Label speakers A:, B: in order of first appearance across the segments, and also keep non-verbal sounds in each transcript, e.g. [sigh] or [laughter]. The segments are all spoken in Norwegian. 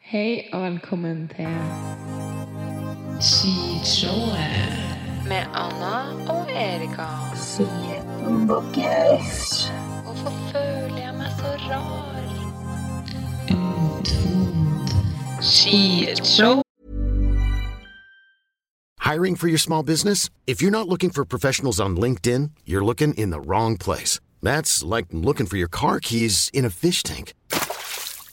A: Hei og velkommen til Skishowet med Anna og Erika. Hvorfor føler jeg meg så rar? Skishow.
B: Hiring for your small business? If you're not looking for professionals on LinkedIn, you're looking in the wrong place. That's like looking for your car keys in a fish tank.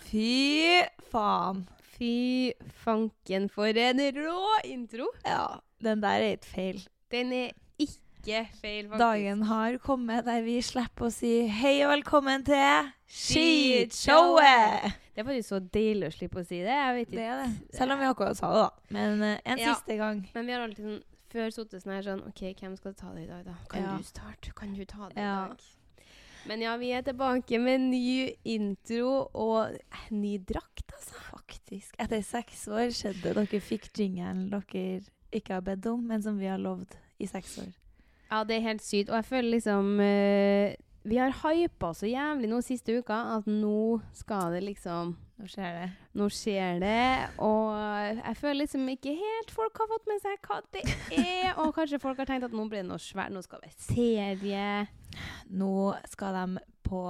C: Fy faen. Fy fanken, for en rå intro.
D: Ja, den der er ikke feil.
C: Den er ikke feil, faktisk.
D: Dagen har kommet der vi slipper å si hei og velkommen til
C: Skishowet!
D: Skishowet!
C: Det er faktisk så deilig å slippe å si det. Jeg vet
D: Det
C: ikke.
D: er det. Selv om vi akkurat sa det, da. Men eh, en
C: Ja.
D: siste gang.
C: Men vi har alltid sånn før sittet sånn her sånn OK, hvem skal ta det i dag, da? Kan
D: Ja.
C: du starte? Kan du ta det
D: Ja.
C: i dag? Men ja, vi er tilbake med en ny intro og eh, ny drakt, altså.
D: Faktisk. Etter seks år skjedde det. Dere fikk jingelen dere ikke har bedt om, men som vi har lovd i seks år.
C: Ja, det er helt sykt. Og jeg føler liksom eh, Vi har hypa så jævlig nå siste uka at nå skal det liksom
D: Nå skjer det.
C: Nå skjer det, og jeg føler liksom ikke helt folk har fått med seg hva det er. Og kanskje folk har tenkt at nå blir det noe svært, nå skal det være serie.
D: Nå skal de på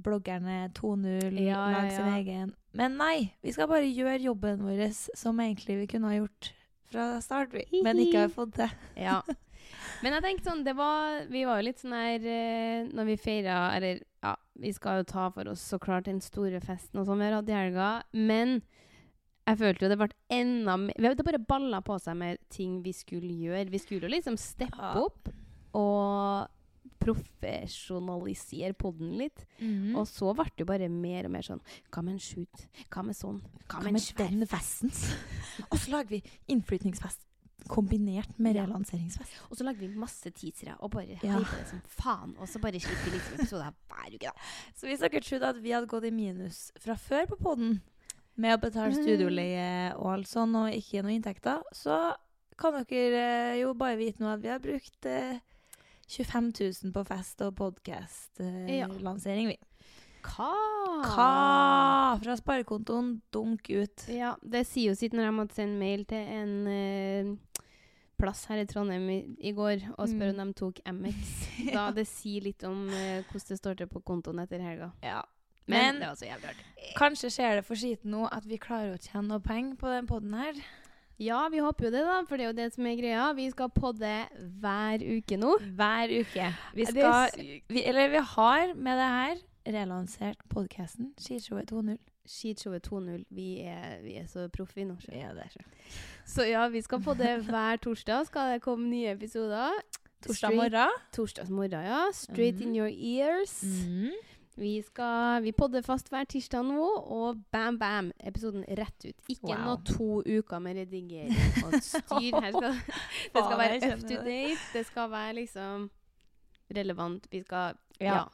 D: bloggerne 2.0,
C: Ja, ja,
D: lage sin
C: ja.
D: egen Men nei, vi skal bare gjøre jobben vår som egentlig vi kunne ha gjort fra start, vi. Men ikke har fått til.
C: Ja. Men jeg tenkte sånn, det var Vi var jo litt sånn her eh, når vi feira Eller ja, vi skal jo ta for oss så klart den store festen og sånn vi har hatt i helga, men jeg følte jo det ble enda mer Det bare balla på seg med ting vi skulle gjøre. Vi skulle jo liksom steppe
D: Ja.
C: opp og profesjonalisere podden litt. Og så ble det jo bare mer og mer sånn Hva med en shoot? Hva med sånn? Hva med en svær
D: festen? [laughs] Og så lager vi innflytningsfest kombinert med
C: Ja.
D: relanseringsfest.
C: Og så lagde vi masse teasere og bare
D: Ja.
C: hypet det som faen. Og så bare slipper vi liksom episoder hver uke, da.
D: Så hvis dere trodde at vi hadde gått i minus fra før på poden, med å betale
C: Mm.
D: studioleie og alt sånn, og ikke noe inntekter, så kan dere eh, jo bare vite nå at vi har brukt eh, 25 000 på fest og
C: Ja.
D: podkast-lansering, vi.
C: Hva?
D: Hva? Fra sparekontoen, dunk ut.
C: Ja, det sier jo sitt når jeg måtte sende mail til en eh, plass her i Trondheim i, i går og
D: Mm.
C: spørre om de tok MX.
D: [laughs]
C: Da det sier litt om eh, hvordan det står til på kontoen etter helga.
D: Ja.
C: Men, eh,
D: Men-
C: det var så jævlig artig.
D: Kanskje skjer det for skiten nå at vi klarer å tjene noe penger på den poden her.
C: Ja, vi håper jo det, da, for det er jo det som er greia. Vi skal podde hver uke nå.
D: Hver uke. Vi
C: Uh. Det er
D: skal vi, Eller vi har med det her relansert podkasten Skishowet 2.0.
C: Skishowet 2.0. Vi er, vi er så proffe i norsk.
D: Ja, det er så.
C: Så ja, vi skal på det hver torsdag. Skal det komme nye episoder?
D: Torsdag
C: Straight-
D: morgen.
C: Torsdagsmorgen, ja. Straight in your ears.
D: Mm.
C: Vi, skal, vi podder fast hver tirsdag nå, og bam, bam, episoden rett ut. Ikke
D: Wow.
C: nå to uker med redigering og styr. Her
D: [laughs]
C: skal, det skal
D: Faen, jeg
C: være
D: kjenner
C: up to
D: det.
C: date. Det skal være liksom relevant. Vi skal
D: Ja.
C: Ja.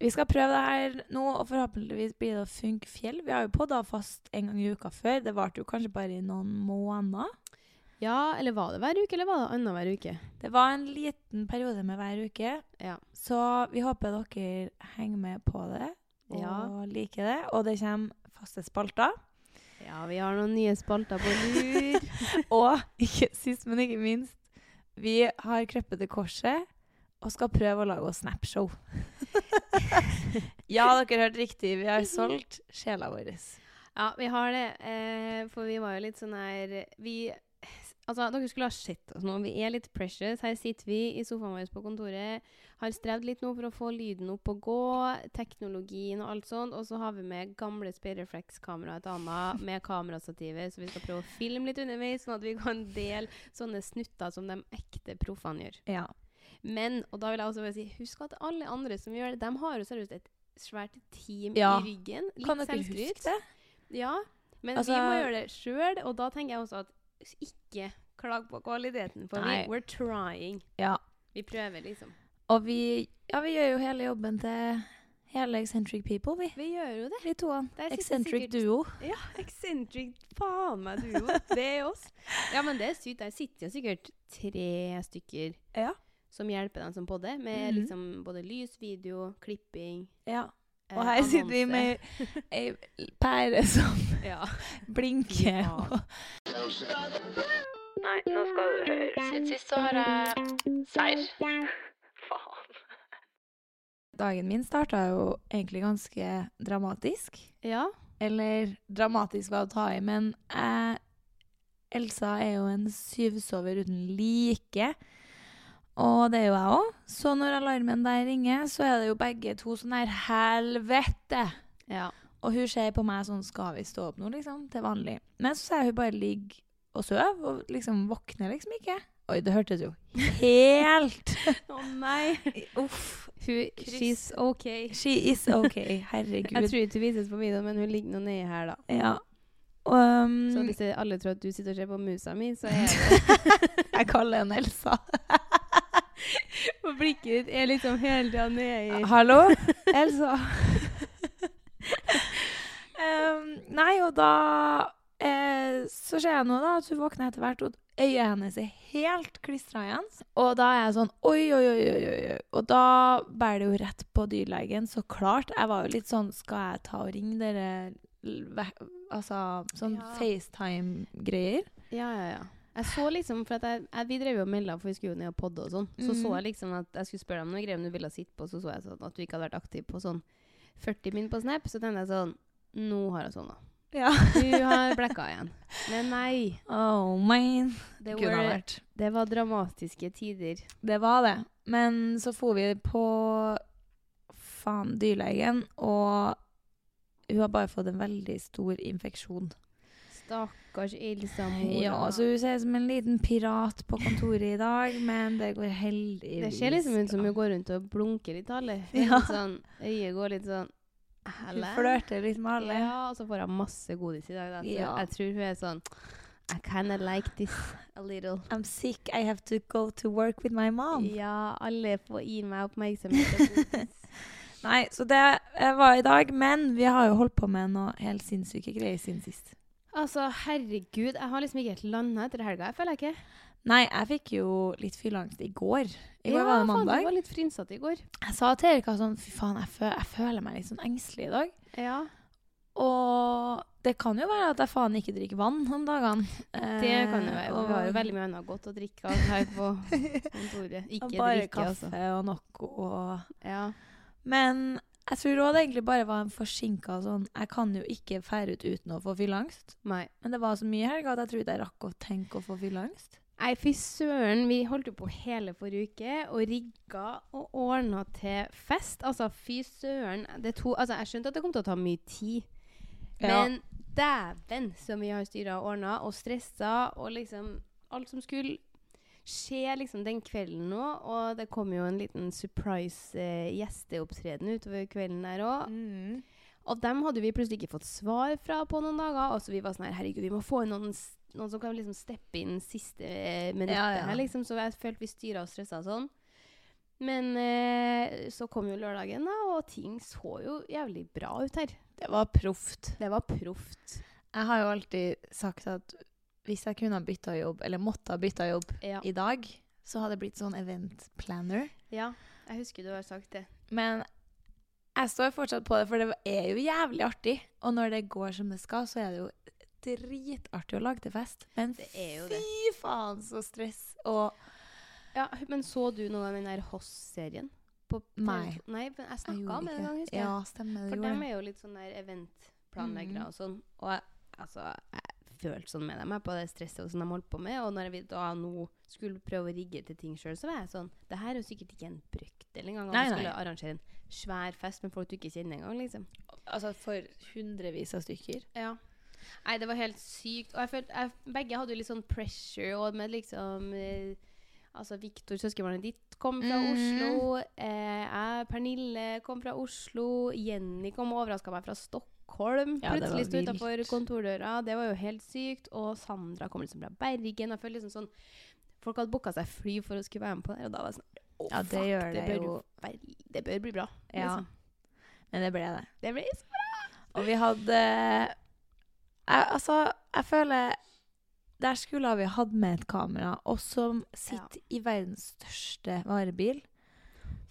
D: Vi skal prøve det her nå, og forhåpentligvis blir det å funke fjell. Vi har jo podda fast en gang i uka før. Det varte jo kanskje bare i noen måneder.
C: Ja, eller var det hver uke, eller var det annenhver uke?
D: Det var en liten periode med hver uke,
C: Ja.
D: så vi håper dere henger med på det og
C: Ja.
D: liker det. Og det kommer faste spalter.
C: ja, vi har noen nye spalter på lur.
D: [laughs] og ikke, sist, men ikke minst, vi har krøpet til korset og skal prøve å lage oss snapshow. ja, dere hørte riktig. Vi har solgt sjela vår.
C: Ja, vi har det. Eh, for vi var jo litt sånn her Vi Altså, dere skulle ha sett oss nå. Vi er litt precious. Her sitter vi i sofaen vår på kontoret. Har strevd litt nå for å få lyden opp og gå. Teknologien og alt sånt. Og så har vi med gamle speilreflekskamera et annet med kamerastativer, så vi skal prøve å filme litt underveis, sånn at vi kan dele sånne snutter som de ekte proffene gjør.
D: Ja.
C: Men, og da vil jeg også bare si, husk at alle andre som gjør det, de har jo seriøst et svært team
D: Ja.
C: i ryggen. Litt
D: Kan dere
C: selvskryt.
D: huske det?
C: Ja, men
D: Altså-
C: vi må gjøre det sjøl, og da tenker jeg også at ikke klag på kvaliteten, for
D: Nei.
C: vi, we're trying.
D: Ja.
C: Vi prøver, liksom.
D: Og vi, ja, vi gjør jo hele jobben til hele Eccentric People, vi.
C: Vi gjør jo det.
D: Vi toene.
C: Der sitter
D: Eccentric
C: sikkert-
D: Duo.
C: Ja, eccentric faen meg duo. Det er oss. Ja, men det er sykt. Der sitter jo sikkert tre stykker
D: Ja.
C: som hjelper dem som podder, med
D: Mhm.
C: liksom både lys, video, klipping
D: ja.
C: eh,
D: Og her sitter vi
C: annonse. [laughs]
D: med ei pære som
C: Ja.
D: blinker.
C: Ja.
D: og-
E: Nei, nå skal du høre. Siden sist så har jeg seier. [laughs]
D: Dagen min starta jo egentlig ganske dramatisk.
C: ja.
D: Eller dramatisk var å ta i, men eh, Elsa er jo en syvsover uten like. Og det er jo jeg òg. Så når alarmen der ringer, så er det jo begge to sånn her Helvete!
C: Ja.
D: Og hun ser på meg sånn Skal vi stå opp nå, liksom? Til vanlig. Men så sier hun bare ligg og sov, og liksom våkner liksom ikke. Oi, det hørtes jo helt
C: [laughs] Å nei.
D: Uff.
C: Hun,
D: Kryss.
C: she's okay.
D: She is okay.
C: Jeg
D: Herregud.
C: tror ikke det vises på videoen, men hun ligger nå nedi her, da.
D: Ja. Um,
C: Så hvis det- alle tror at du sitter og ser på musa mi, så
D: [laughs]
C: er det
D: jeg kaller henne Elsa.
C: Og blikket ditt er liksom hele tida nede i [laughs]
D: Hallo? Elsa. um, nei, og da eh, Så ser jeg nå da at hun våkner etter hvert, og øyet hennes er helt klistra igjen. Og da er jeg sånn oi, oi, oi, oi, oi. oi. Og da bærer det jo rett på dyrlegen, så klart. Jeg var jo litt sånn Skal jeg ta og ringe dere l- ve- Altså sånn
C: Ja.
D: FaceTime-greier?
C: Ja, ja, ja. Jeg så liksom, for at jeg, jeg, Vi drev jo og melda, for vi skulle jo ned og podde og sånn. Så
D: Mhm.
C: så jeg liksom at jeg skulle spørre deg om noen greier om du ville sitte på, så så jeg sånn at du ikke hadde vært aktiv på sånn 40 min på Snap. Så tenkte jeg sånn Nå har jeg [laughs] sovna.
D: Ja.
C: Du har blacka igjen. Men nei.
D: [laughs] Oh, man.
C: Det
D: Kunne ha
C: var,
D: vært.
C: det var dramatiske tider.
D: Det var det. Men så for vi på faen dyrlegen, og hun har bare fått en veldig stor infeksjon.
C: Stakkars Ilsa Mora.
D: Ja, så hun ser ut som en liten pirat på kontoret i dag, men det går heldigvis
C: Det ser liksom ut som
D: bra.
C: hun går rundt og blunker litt til alle.
D: [laughs]
C: Hun er
D: Ja.
C: litt Sånn, øyet går litt sånn
D: Hun
C: Helle?
D: flørter litt med alle.
C: Ja, og så får hun masse godis i dag. Da. Så
D: Ja.
C: jeg tror hun er sånn I kinda like this a little.
D: I'm sick, I have to go to work with my mom.
C: Ja, alle får gi meg oppmerksomhet og
D: [laughs]
C: godis.
D: Nei, så det eh, var i dag, men vi har jo holdt på med noe helt sinnssyke greier siden sist.
C: altså, herregud, jeg har liksom ikke helt landa etter helga, jeg føler jeg ikke.
D: Nei, jeg fikk jo litt fylleangst i går. I går
C: ja,
D: var
C: Faen,
D: det mandag.
C: du var litt frynsete i går.
D: Jeg sa til Erika sånn Fy faen, jeg, fø jeg føler meg litt sånn engstelig i dag.
C: Ja.
D: Og det kan jo være at jeg faen ikke drikker vann om dagene.
C: Det kan jo være. Eh, Vi har jo veldig mye annet godt å drikke av her på
D: [laughs]
C: kontoret. Ikke
D: Og bare
C: drikke,
D: kaffe
C: altså.
D: og noe og
C: Ja.
D: Men jeg tror òg det egentlig bare var en forsinka sånn Jeg kan jo ikke fære ut uten å få fylleangst.
C: Nei.
D: Men det var så mye i helga at jeg tror ikke jeg rakk å tenke å få fylleangst.
C: Nei, fy søren. Vi holdt jo på hele forrige uke og rigga og ordna til fest. Altså, fy søren. Det to, altså, jeg skjønte at det kom til å ta mye tid, men dæven som vi har styra og ordna og stressa og liksom alt som skulle skje liksom den kvelden nå. Og det kom jo en liten surprise eh, gjesteopptreden utover kvelden der òg.
D: Mm.
C: Og dem hadde vi plutselig ikke fått svar fra på noen dager. Og så vi var sånn her, herregud, vi må få inn noen, s- noen som kan liksom steppe inn siste eh, minuttet
D: Ja, ja.
C: her, liksom. Så jeg følte vi styra og stressa sånn. Men eh, så kom jo lørdagen, da, og ting så jo jævlig bra ut her.
D: Det var proft.
C: Det var proft.
D: Jeg har jo alltid sagt at
C: hvis jeg kunne ha bytta jobb, eller måtte ha bytta jobb
D: Ja.
C: i dag, så hadde jeg blitt sånn event planner.
D: ja. Jeg husker du har sagt det.
C: Men jeg står fortsatt på det, for det er jo jævlig artig. Og når det går som det skal, så er det jo dritartig å lage til fest. Men
D: Det er jo det.
C: fy faen, så stress. Og
D: Ja, Men så du noen gang den der Hoss-serien? På
C: Nei.
D: Nei, men jeg
C: jeg
D: snakka
C: gjorde
D: om det en
C: ikke-
D: gang, husker jeg.
C: Ja, stemmer.
D: For
C: det gjorde
D: dem
C: jeg. Mm.
D: er jo litt sånn der eventplanleggere og sånn. Og jeg, altså, jeg følte sånn med dem jeg på det stresset og sånn de holdt på med. Og når jeg da nå skulle prøve å rigge til ting sjøl, så var jeg sånn Det her er jo sikkert ikke en brøkdel engang. Om
C: Nei,
D: jeg
C: nei.
D: skulle arrangere en svær fest med folk du ikke kjenner engang, liksom.
C: Altså for hundrevis av stykker.
D: Ja. Nei, det var helt sykt. Og jeg følte, jeg, begge hadde jo litt sånn pressure, og med liksom eh, Altså, Viktor, søskenbarnet ditt, kom fra
C: Mhm.
D: Oslo. Eh, jeg, Pernille, kom fra Oslo. Jenny kom og overraska meg fra Stockholm.
C: Ja, det var
D: Plutselig sto
C: vilt.
D: utafor kontordøra. Det var jo helt sykt. Og Sandra kom liksom fra Bergen. Jeg følte liksom sånn Folk hadde booka seg fly for å skulle være med på det, her, og da var jeg sånn Å,
C: Ja, det
D: fuck,
C: gjør
D: det,
C: det
D: bør
C: jo.
D: være- det bør bli bra.
C: Ja.
D: liksom.
C: Men det ble det.
D: Det ble så bra!
C: Og vi hadde jeg, Altså, jeg føler Der skulle vi hatt med et kamera, og som sitter i verdens største varebil.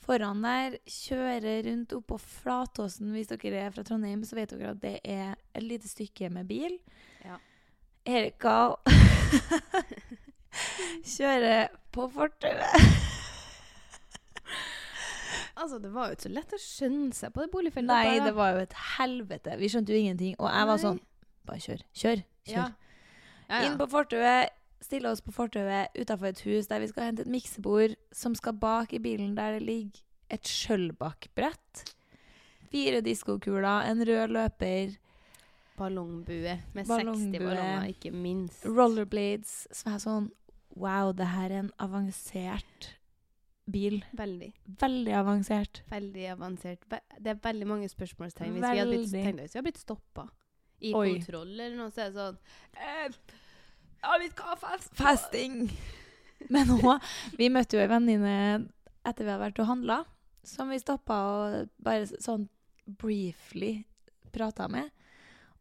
C: Foran der, kjører rundt oppå Flatåsen. Hvis dere er fra Trondheim, så vet dere at det er et lite stykke med bil.
D: Ja.
C: Erika kjører på fortauet.
D: Altså, Det var jo ikke så lett å skjønne seg på det boligfeltet.
C: Nei,
D: der, da.
C: det var jo et helvete. Vi skjønte jo ingenting. Og jeg var
D: Nei.
C: sånn Bare kjør. Kjør. kjør.
D: Ja. Ja, ja.
C: Inn på fortauet, stille oss på fortauet utenfor et hus der vi skal hente et miksebord som skal bak i bilen der det ligger et skjølbakbrett. Fire diskokuler, en rød løper,
D: Ballongbue med
C: Ballongbue.
D: 60 ballonger, ikke minst.
C: rollerblades. Så var jeg sånn Wow, det her er en avansert bil.
D: Veldig
C: Veldig avansert.
D: veldig avansert. Ve det er veldig mange spørsmålstegn. Hvis vi hadde blitt,
C: Veldig.
D: tenk deg hvis vi hadde blitt stoppa i
C: Oi.
D: kontroll eller noe, så er det sånn eh, Ja, vi skal ha fest!
C: Festing! [laughs] Men nå, vi møtte jo ei venninne etter vi hadde vært og handla, som vi stoppa og bare sånn briefly prata med.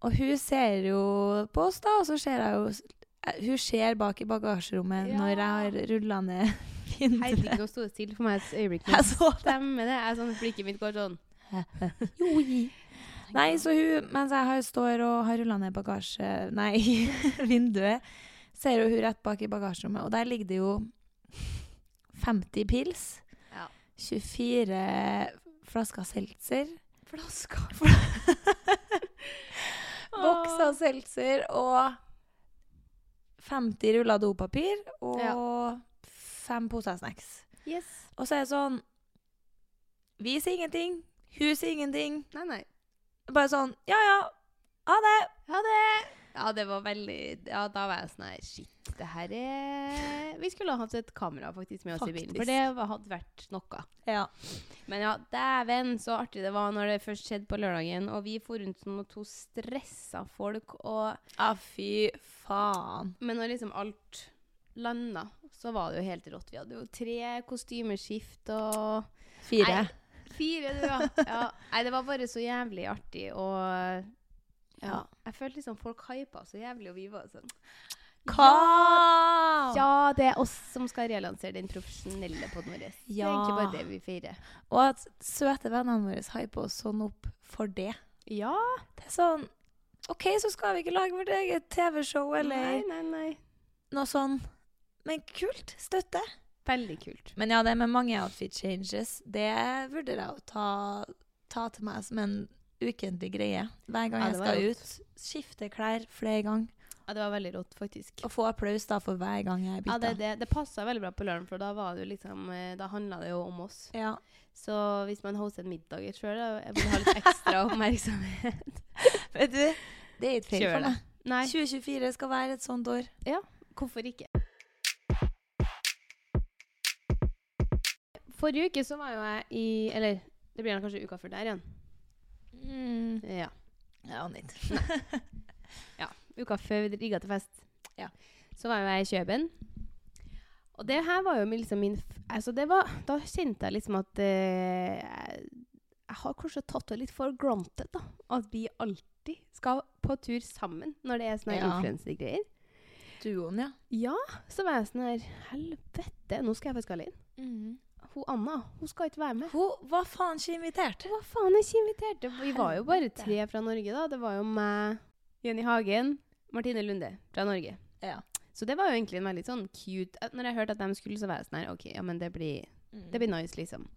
C: Og hun ser jo på oss, da, og så ser jeg jo eh, Hun ser bak i bagasjerommet
D: Ja.
C: når jeg har rulla ned
D: Herregud,
C: vinduet.
D: nå sto det stille for meg et øyeblikk.
C: Jeg
D: Men
C: så det.
D: stemmer det? Jeg er sånn, Blikket mitt går
C: [laughs]
D: sånn.
C: Joi. Nei, så hun, mens jeg har, står og har rulla ned bagasje... Nei, [laughs] vinduet, ser jo hun rett bak i bagasjerommet, og der ligger det jo 50 pils.
D: Ja.
C: 24 flasker seltzer.
D: Flaska.
C: [laughs] Boks av seltzer og 50 ruller dopapir og fem poser snacks.
D: Yes.
C: Og så er det sånn Vi sier ingenting. Hun sier ingenting.
D: Nei, nei.
C: Bare sånn Ja, ja. Ha det.
D: Ha det! Ja, det var veldig Ja, da var jeg sånn her Shit, det her er Vi skulle ha hatt et kamera faktisk med oss i bilen, for det
C: Faktisk.
D: var- hadde vært noe.
C: Ja.
D: Men ja, dæven så artig det var når det først skjedde på lørdagen, og vi for rundt som noen to stressa folk, og
C: fy faen.
D: Men når liksom alt landa, så var det jo helt rått. Vi hadde jo tre kostymeskift og
C: Fire.
D: Nei, fire, du, ja. ja. Nei, det var bare så jævlig artig, og
C: Ja.
D: Jeg følte liksom folk hypa så jævlig, og vi var sånn
C: Hva?
D: Ja, det er oss som skal relansere den profesjonelle podden vår. Det er
C: Ja.
D: egentlig bare det vi feirer.
C: Og at søte vennene våre hyper oss sånn opp for det.
D: Ja.
C: Det er sånn OK, så skal vi ikke lage vårt eget TV-show eller
D: Nei, nei, nei.
C: noe sånn. Men kult. Støtte.
D: Veldig kult.
C: Men ja, det med mange outfit changes, det vurderer jeg å ta, ta til meg som en ukentlig greie. Hver gang
D: Ja,
C: jeg
D: det var
C: skal
D: rått.
C: ut. Skifte klær flere ganger.
D: Ja, det var veldig rått, faktisk.
C: Og få applaus da for hver gang jeg
D: Ja, det,
C: bytter.
D: det, det passa veldig bra på lørdag, for da var det jo liksom eh, Da handla det jo om oss.
C: Ja.
D: Så hvis man hoster en middag sjøl, vil ha litt
C: [laughs]
D: ekstra oppmerksomhet.
C: Vet du, det er ikke feil
D: Kjør
C: for
D: det.
C: meg.
D: Nei,
C: 2024 skal være et sånt år.
D: hvorfor ikke? Forrige uke så var jo jeg i Eller det blir kanskje uka før der igjen. Ja.
C: Mm. Ja,
D: [laughs]
C: nytt.
D: uka før vi rigga til fest,
C: Ja.
D: så var jo jeg i Kjøben. Og det her var jo min- liksom min f- altså det var, Da kjente jeg liksom at eh, jeg, jeg har kanskje tatt det litt for granted, da. At vi alltid skal på tur sammen når det er sånne
C: Ja.
D: influensergreier.
C: duoen, ja.
D: Ja, så var jeg sånn her Helvete, nå skal jeg faktisk alene. Hun Anna hun skal ikke være med.
C: Mhm. Hun var faen ikke invitert.
D: Hva faen er ikke invitert? Det- Vi var jo bare tre fra Norge, da. Det var jo meg, Jenny Hagen, Martine Lunde fra Norge.
C: Ja.
D: Så det var jo egentlig en veldig sånn cute at Når jeg hørte at de skulle, så var jeg sånn her OK, ja, men det blir, det blir nice, liksom.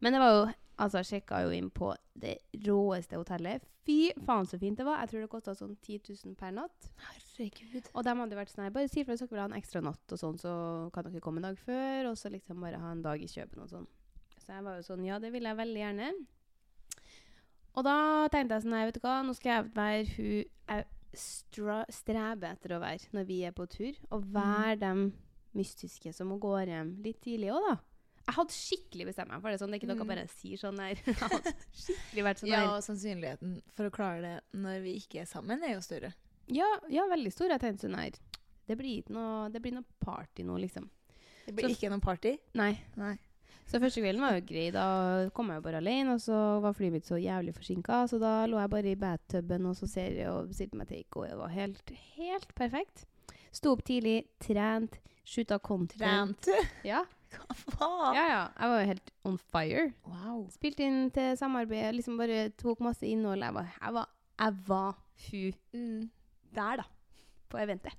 D: Men det var jo Altså, jeg sjekka jo inn på det råeste hotellet. Fy faen så fint det var. Jeg tror det kosta sånn 10 000 per natt.
C: Herregud.
D: Og de hadde vært sånn her, bare si ifra hvis dere vil ha en ekstra natt og sånn, så kan dere komme en dag før, og så liksom bare ha en dag i Køben og sånn. Så jeg var jo sånn, ja, det vil jeg veldig gjerne. Og da tenkte jeg sånn, nei, vet du hva, nå skal jeg være hun jeg stra streber etter å være når vi er på tur, og
C: Mm.
D: være dem mystiske som hun går hjem litt tidlig også da. Jeg hadde skikkelig bestemt meg for det, sånn, det er ikke dere bare sier sånn der. [laughs] Jeg hadde skikkelig vært
C: Mm.
D: sånn
C: Ja,
D: der.
C: og sannsynligheten for å klare det når vi ikke er sammen, er jo større.
D: Ja, ja, veldig stor. Jeg tenkte sånn her, det blir ikke noe, det blir noe party nå, liksom.
C: Det blir
D: Så-
C: ikke noe party.
D: Nei.
C: Nei.
D: Så første kvelden var jo grei. Da kom jeg jo bare alene, og så var flyet mitt så jævlig forsinka. Så da lå jeg bare i badtuben og så ser jeg og sitter med take, og det var helt, helt perfekt. Sto opp tidlig, trent, shoota content.
C: Trent.
D: Ja.
C: [laughs] Hva faen?
D: ja, ja. Jeg var jo helt on fire.
C: Wow.
D: Spilte inn til samarbeid, liksom bare tok masse innhold. Jeg var, jeg var, jeg var hun
C: Mm.
D: der, da. På eventet.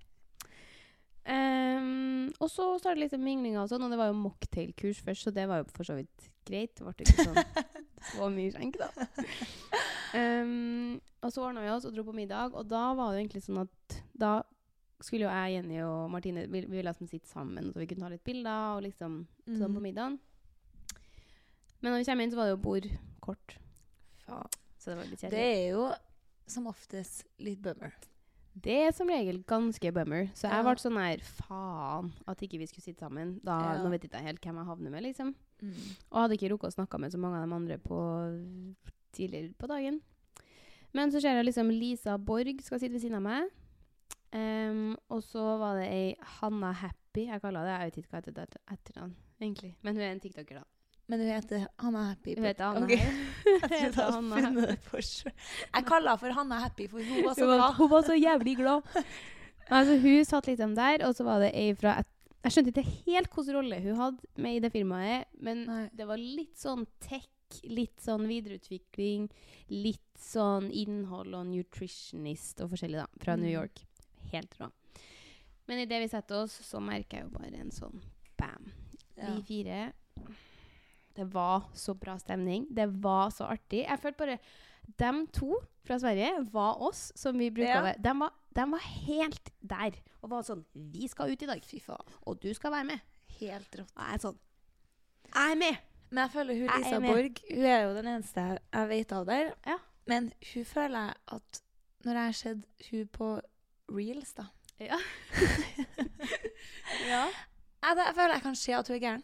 D: Ehm, og så startet liksom minglinga og sånn, og det var jo mocktail-kurs først, så det var jo for så vidt greit. Det ble ikke sånn
C: [laughs]
D: så mye skjenk, da. Ehm, og så ordna vi oss og dro på middag, og da var det jo egentlig sånn at da skulle jo jeg, Jenny og Martine vi, vi ville liksom sitte sammen, så vi kunne ta litt bilder og liksom sånn
C: Mm.
D: på middagen. Men når vi kommer inn, så var det jo bord kort, så det var litt
C: Det
D: kjedelig.
C: er jo som oftest litt bummer.
D: Det er som regel ganske bummer. Så jeg
C: Ja.
D: ble sånn her Faen at ikke vi skulle sitte sammen. Da,
C: Ja.
D: Nå vet ikke jeg helt hvem jeg havner med, liksom. Og hadde ikke rukket å snakke med så mange av de andre på tidligere på dagen. Men så ser jeg liksom Lisa Borg skal sitte ved siden av meg. Ehm, og så var det ei Hanna Happy, jeg kaller det. Jeg vet ikke hva heter det etter- etternavn, egentlig. Men hun er en tiktoker, da.
C: Men hun heter Hanna Happy.
D: Hun heter Hanna
C: Ok. [laughs]
D: Happy.
C: Jeg trodde
D: Heter
C: jeg
D: Hanna
C: hadde funnet det for sjøl. Jeg kaller henne for Hanna Happy, for hun var så
D: hun, var,
C: glad.
D: hun var så jævlig glad. Altså, hun satt liksom der, og så var det ei fra et Jeg skjønte ikke helt hvilken rolle hun hadde med i det firmaet, men
C: Nei.
D: det var litt sånn tech, litt sånn videreutvikling, litt sånn innhold og nutritionist og forskjellig, da, fra
C: Mm.
D: New York. Helt rå. Men idet vi setter oss, så merker jeg jo bare en sånn bam.
C: Ja.
D: Vi fire Det var så bra stemning. Det var så artig. Jeg følte bare De to fra Sverige var oss, som vi bruker
C: Ja.
D: å være. De var, de var helt der. Og var sånn Vi skal ut i dag. Fy faen. Og du skal være med.
C: Helt rått.
D: Og jeg er sånn Jeg er med!
C: Men jeg føler hun
D: Jeg er
C: Lisa
D: med.
C: Borg Hun er jo den eneste jeg- jeg vet av der.
D: Ja.
C: Men hun føler jeg at når jeg har sett hun på reels, da [laughs]
D: Ja.
C: Jeg, jeg føler jeg kan se at hun er gæren.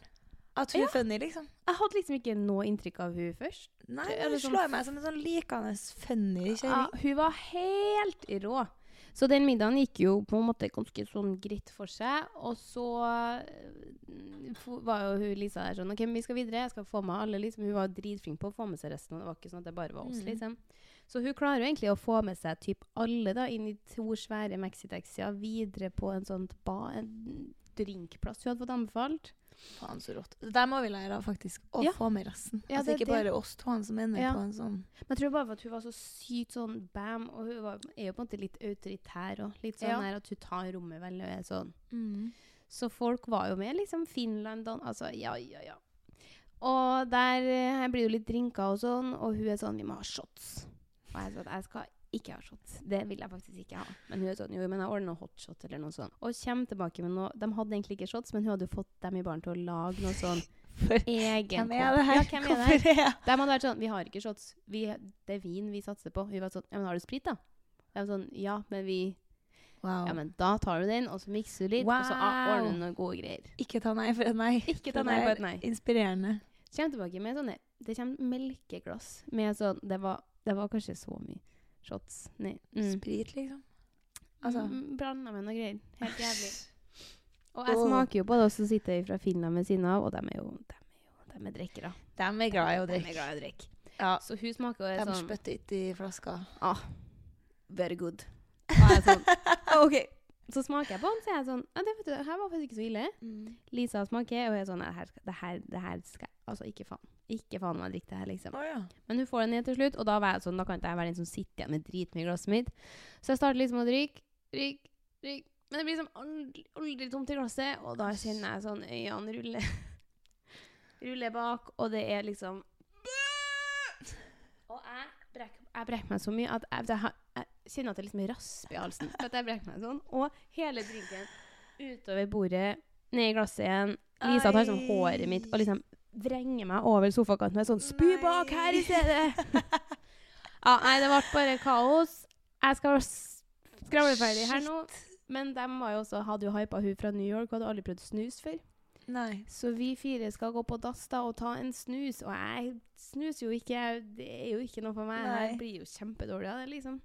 C: At hun
D: Ja.
C: er funny, liksom.
D: Jeg hadde liksom ikke noe inntrykk av hun først.
C: Nei,
D: Det er
C: men hun
D: liksom-
C: slår meg som en sånn likende funny
D: Ja,
C: kjerring.
D: hun var helt rå. Så den middagen gikk jo på en måte ganske sånn greit for seg. Og så eh, fo- var jo hun Lisa der sånn OK, men vi skal videre. Jeg skal få med alle. liksom. Hun var dritflink på å få med seg resten. og Det var ikke sånn at det bare var oss,
C: Mhm.
D: liksom. Så hun klarer jo egentlig å få med seg typ alle da, inn i to svære Maxitaxier videre på en sånn ba, en drinkplass hun hadde fått anbefalt.
C: Faen, så rått. Det der må vi lære av, faktisk. Å
D: Ja.
C: få med resten.
D: Ja,
C: at
D: det
C: ikke
D: er det.
C: bare oss to som ender
D: Ja.
C: på en sånn
D: Men jeg tror bare for at hun var så sykt sånn bam, og hun var, er jo på en måte litt autoritær òg. Litt sånn
C: Ja.
D: her at hun tar rommet vel og er sånn Så folk var jo med, liksom. Finland, Dan Altså, ja, ja, ja. Og der eh, jeg blir jo litt drinka og sånn, og hun er sånn 'Vi må ha shots'. Og jeg er sånn Jeg skal ikke ha shots. Det vil jeg faktisk ikke ha. Men hun er sånn 'Jo, men jeg ordner hotshot', eller noe sånt. Og kommer tilbake med noe De hadde egentlig ikke shots, men hun hadde jo fått dem i baren til å lage
C: [laughs]
D: noe sånn egen
C: Hvem er det her?
D: Ja, hvem er det her?
C: Hvorfor er jeg-
D: De hadde vært sånn Vi har ikke shots. Vi, det er vin vi satser på. Hun var sånn Ja, men har du sprit, da? Jeg var sånn Ja, men vi
C: Wow.
D: Ja, men da tar du den, og så mikser du litt, og så ah,
C: Wow.
D: ordner du noen gode greier.
C: Ikke ta nei for et nei.
D: Ikke ta
C: Det
D: nei for
C: er
D: et nei.
C: Inspirerende.
D: Kjem tilbake med sånne Det kommer melkeglass med sånn Det var, det var kanskje så mye shots. Nei. Mm.
C: Sprit, liksom.
D: Altså
C: Altså.
D: Blanda med noen greier. Helt jævlig. Og jeg
C: Åh.
D: smaker jo på det, og så sitter jeg fra Finland ved siden av, og de er jo De er jo De er drikkere.
C: De er glad i å
D: De er
C: drikke.
D: glad i å drikke.
C: Ja.
D: Så hun smaker jo
C: De
D: sånn
C: [laughs] spytter ikke i flaska. [laughs]
D: Ah, very good. Og jeg er sånn, OK, Så smaker jeg på den, så er jeg sånn ja, det vet du, her var faktisk ikke så ille.
C: Mm.
D: Lisa smaker, og jeg er sånn «Nei, det her, skal- det her, det her skal jeg Altså, ikke faen. Ikke faen om jeg drikker det her, liksom.
C: Å ja.
D: Men hun får den ned til slutt, og da, var jeg sånn, da kan ikke jeg være den som sitter igjen med dritmye i glasset mitt. Så jeg starter liksom å drikke, drikke, drikke. Men det blir liksom aldri, aldri tomt i glasset, og da kjenner jeg sånn øynene rulle [laughs] Rulle bak, og det er liksom Og jeg brekker, jeg brekker meg så mye at jeg, jeg, har- jeg kjenner at det liksom rasper i halsen. For at jeg brekker meg sånn. Og hele drinken utover bordet, ned i glasset igjen. Lisa tar sånn håret mitt og liksom vrenger meg over sofakanten og er sånn Spy bak her i stedet! [laughs] Ja, nei, det ble bare kaos. Jeg skal være s- skravleferdig her nå. Men de var jo også, hadde jo hypa hun fra New York og hadde aldri prøvd snus før.
C: Nei.
D: Så vi fire skal gå på dass da og ta en snus. Og jeg snuser jo ikke, jeg- det er jo ikke noe for meg.
C: Nei.
D: Jeg blir jo kjempedårlig av det, liksom.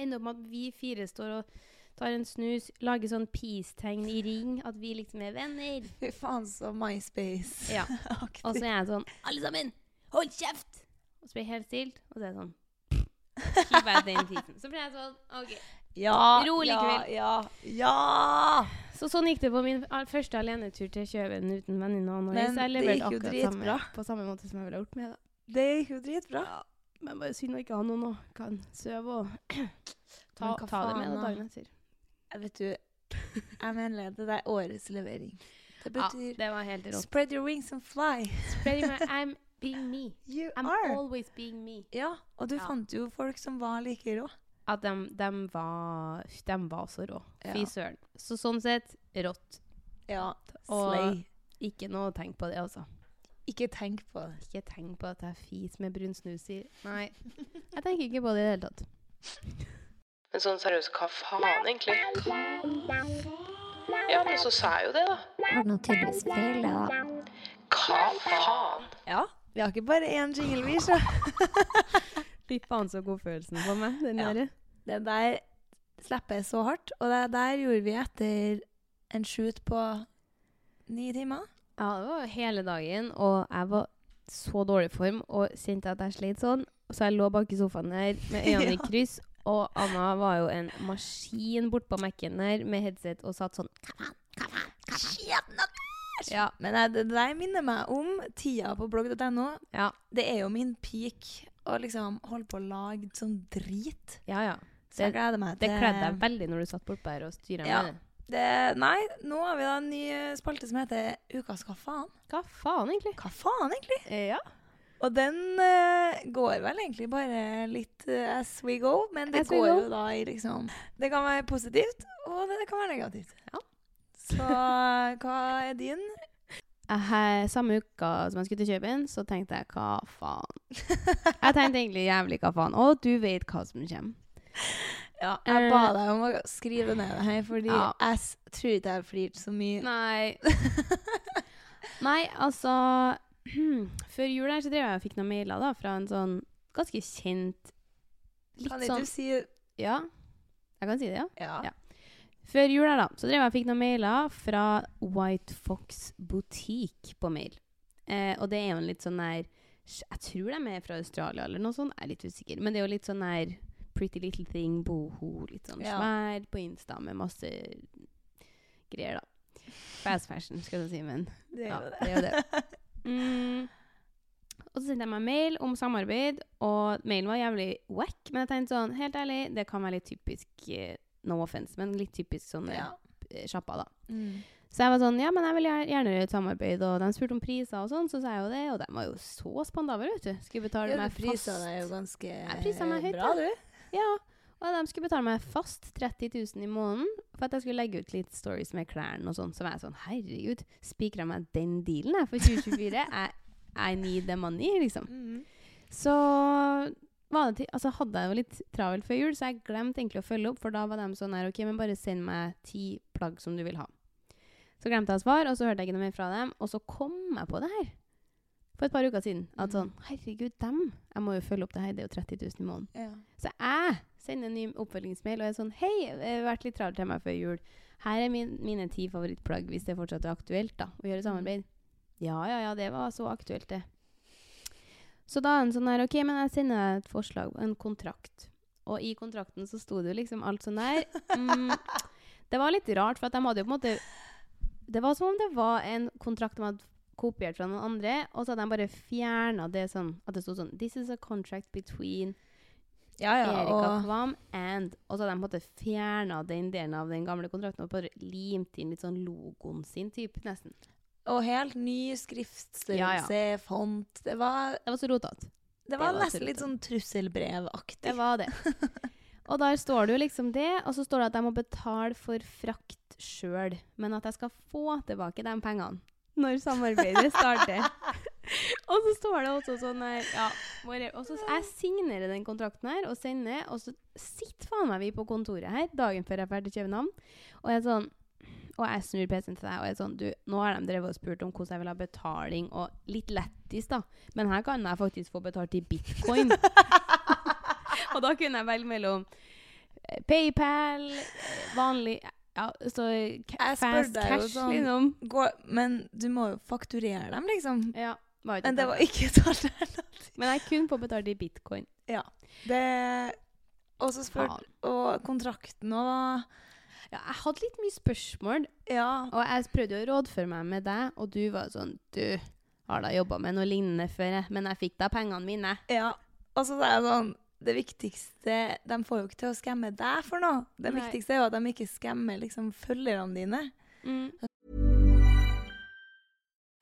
D: Ender opp med at vi fire står og tar en snus, lager sånn peace-tegn i ring, at vi liksom er venner.
C: Fy faen, så MySpace. [laughs]
D: Ja.
C: Aktig.
D: Og så er jeg sånn [laughs] Alle sammen, hold kjeft! Og så blir jeg helt stilt, og så er jeg sånn Keep at den tiden. Så blir jeg sånn OK.
C: ja,
D: Rolig
C: ja,
D: kveld.
C: Ja, ja!
D: Så sånn gikk det på min al- første alenetur til Kjøven uten venninne og Annelise.
C: Men
D: Jeg
C: det
D: leverte
C: gikk jo
D: akkurat samme,
C: dritbra.
D: på samme måte som jeg ville ha gjort med det.
C: Det gikk jo dritbra.
D: Men bare synd å ikke ha noen å kan sove og [clears throat] ta,
C: Men hva
D: ta det med
C: faen,
D: da
C: da?
D: dagen etter.
C: [laughs] Vet du, jeg mener det er årets levering. Det
D: Ja,
C: betyr
D: det var helt
C: [laughs]
D: rått.
C: Spread your wings and fly.
D: Spreading my- I'm being me.
C: You
D: I'm
C: are.
D: always being me.
C: Ja, og du
D: Ja.
C: fant jo folk som var like rå.
D: At de, de, var, de var så rå. Fy
C: Ja.
D: søren. Så sånn sett, rått.
C: Ja,
D: Og-
C: slay.
D: Ikke noe tenk på det, altså.
C: Ikke tenk på det.
D: Ikke tenk på at jeg fis med brun snus i Nei. Jeg tenker ikke på det i det hele tatt.
F: Men sånn seriøst, hva faen egentlig? Ja, men så sa jeg jo det, da.
G: Var det noe tydeligvis feil, det da?
F: Hva faen?
C: Ja, vi har ikke bare én jingle, vi, så.
D: [laughs] Fy faen så god følelsen på meg, den
C: Ja.
D: der.
C: Den der slipper jeg så hardt, og det der gjorde vi etter en shoot på ni timer.
D: Ja, det var hele dagen, og jeg var så dårlig form og kjente at jeg sleit sånn. Så jeg lå bak i sofaen her
C: [laughs]
D: med øynene i
C: Ja.
D: kryss, og Anna var jo en maskin bortpå Mac-en her med headset og satt sånn Ja,
C: Men jeg, det der minner meg om tida på blogg.no.
D: ja,
C: Det er jo min peak å liksom holde på å lage sånn drit.
D: ja. ja.
C: Så
D: Det-
C: jeg gleder meg
D: Det
C: til
D: kledde deg veldig når du satt bortpå her og styra
C: Ja.
D: med det.
C: Det, nei, nå har vi da en ny eh, spalte som heter Ukas hva faen.
D: Hva faen, egentlig?
C: Hva faen, egentlig?
D: Ja.
C: Og den eh, går vel egentlig bare litt eh, as we go, men det
D: As we
C: går
D: go.
C: jo da i liksom Det kan være positivt, og det, det kan være negativt.
D: Ja.
C: Så hva er din?
D: Eh, samme uka som jeg skulle til København, så tenkte jeg hva faen. Jeg tenkte egentlig jævlig hva faen. Og du vet hva som kommer.
C: Ja, jeg ba
D: Eh.
C: deg om å skrive det ned her, fordi
D: Ja.
C: jeg s- tror ikke jeg har flirt så mye. [laughs]
D: Nei. Nei, altså [clears throat] Før jul her så drev jeg og fikk noen mailer da fra en sånn ganske kjent
C: kan
D: Litt
C: ikke
D: sånn
C: du si
D: Ja, jeg kan si det, ja.
C: Ja.
D: Ja. Før jul her da, så drev jeg og fikk noen mailer fra White Fox Boutique på mail. Eh, og det er jo en litt sånn der Jeg tror de er fra Australia eller noe sånt, jeg er litt usikker. Men det er jo litt sånn der Pretty Little Thing, boho, litt sånn
C: Ja.
D: svær på Insta med masse greier, da. Fast fashion, skal du si, men
C: Det er
D: Ja,
C: jo det.
D: det er jo
C: [laughs]
D: Mm. Og så sendte jeg meg mail om samarbeid, og mailen var jævlig wack. Men jeg tenkte sånn, helt ærlig, det kan være litt typisk eh, No offense, men litt typisk sånne
C: ja.
D: eh, sjappa, da.
C: Mm.
D: Så jeg var sånn, ja, men jeg vil gjer- gjerne gjøre et samarbeid. Og de spurte om priser og sånn, så sa jeg jo det. Og de var jo så spandabler, vet du. Skulle
C: Ja,
D: betale
C: du
D: meg
C: prisa
D: fast.
C: deg jo ganske
D: prisa meg høyt,
C: bra,
D: ja.
C: du.
D: Ja, og de skulle betale meg fast 30 000 i måneden for at jeg skulle legge ut litt stories med klærne og sånn. Så var jeg sånn, herregud, spikra meg den dealen jeg for
C: [laughs]
D: 2024? I, I need the money, liksom.
C: Mm.
D: Så var det til, altså hadde jeg jo litt travelt før jul, så jeg glemte egentlig å følge opp, for da var de sånn her, ok, men bare send meg ti plagg som du vil ha. Så glemte jeg å svare, og så hørte jeg ikke noe mer fra dem, og så kom jeg på det her. For et par uker siden. At sånn, herregud, dem, jeg må jo følge opp det her, det er jo 30 000 i måneden.
C: Ja.
D: Så jeg sender en ny oppfølgingsmail og er sånn Hei, jeg har vært litt travel til meg før jul. Her er min, mine ti favorittplagg, hvis det fortsatt er aktuelt da, å gjøre samarbeid. Ja, ja, ja, det var så aktuelt, det. Så da er han sånn her OK, men jeg sender deg et forslag, en kontrakt. Og i kontrakten så sto det jo liksom alt sånn der. Mm, Det var litt rart, for at de hadde jo på en måte Det var som om det var en kontrakt de hadde kopiert fra noen andre, og så hadde de bare fjerna det sånn at det stod sånn This is a contract between
C: Ja, ja,
D: Erika
C: og
D: Kvam and Og så hadde de på en måte fjerna den delen av den gamle kontrakten og bare limt inn litt sånn logoen sin, typ, nesten.
C: Og helt ny skriftstørrelse, font Det var,
D: Det var så rotete.
C: det var
D: var
C: nesten
D: absolutt
C: litt sånn trusselbrevaktig. [laughs]
D: Det var det. Og der står det jo liksom det, og så står det at jeg må betale for frakt sjøl, men at jeg skal få tilbake de pengene når samarbeidet starter. [laughs] og så står det også sånn her ja, bare- og så Jeg signerer den kontrakten her og sender, og så sitter faen meg vi på kontoret her dagen før jeg er ferdig til København, og jeg er sånn og jeg snur PC-en til deg og jeg er sånn Du, nå har de drevet og spurt om hvordan jeg vil ha betaling, og litt lættis, da, men her kan jeg faktisk få betalt i bitcoin. [laughs] Og da kunne jeg velge mellom eh, PayPal, eh, vanlig ja, så ca-
C: Jeg spør
D: fast
C: deg jo
D: cash,
C: sånn-
D: liksom.
C: Gå, men du må jo fakturere dem, liksom.
D: Ja, var ikke
C: Men det
D: sant.
C: var ikke et alternativ.
D: Men jeg kunne få betalt i bitcoin.
C: Det Og så spør
D: Faen.
C: Og kontrakten òg var
D: Ja, jeg hadde litt mye spørsmål,
C: Ja.
D: og jeg prøvde å rådføre meg med deg, og du var sånn Du har da jobba med noe lignende før, jeg, men jeg fikk da pengene mine.
C: ja. Og så sa jeg sånn Det viktigste De får jo ikke til å skamme deg for noe. Det
D: Nei.
C: viktigste er jo at de ikke skammer liksom følgerne dine.
D: Mm.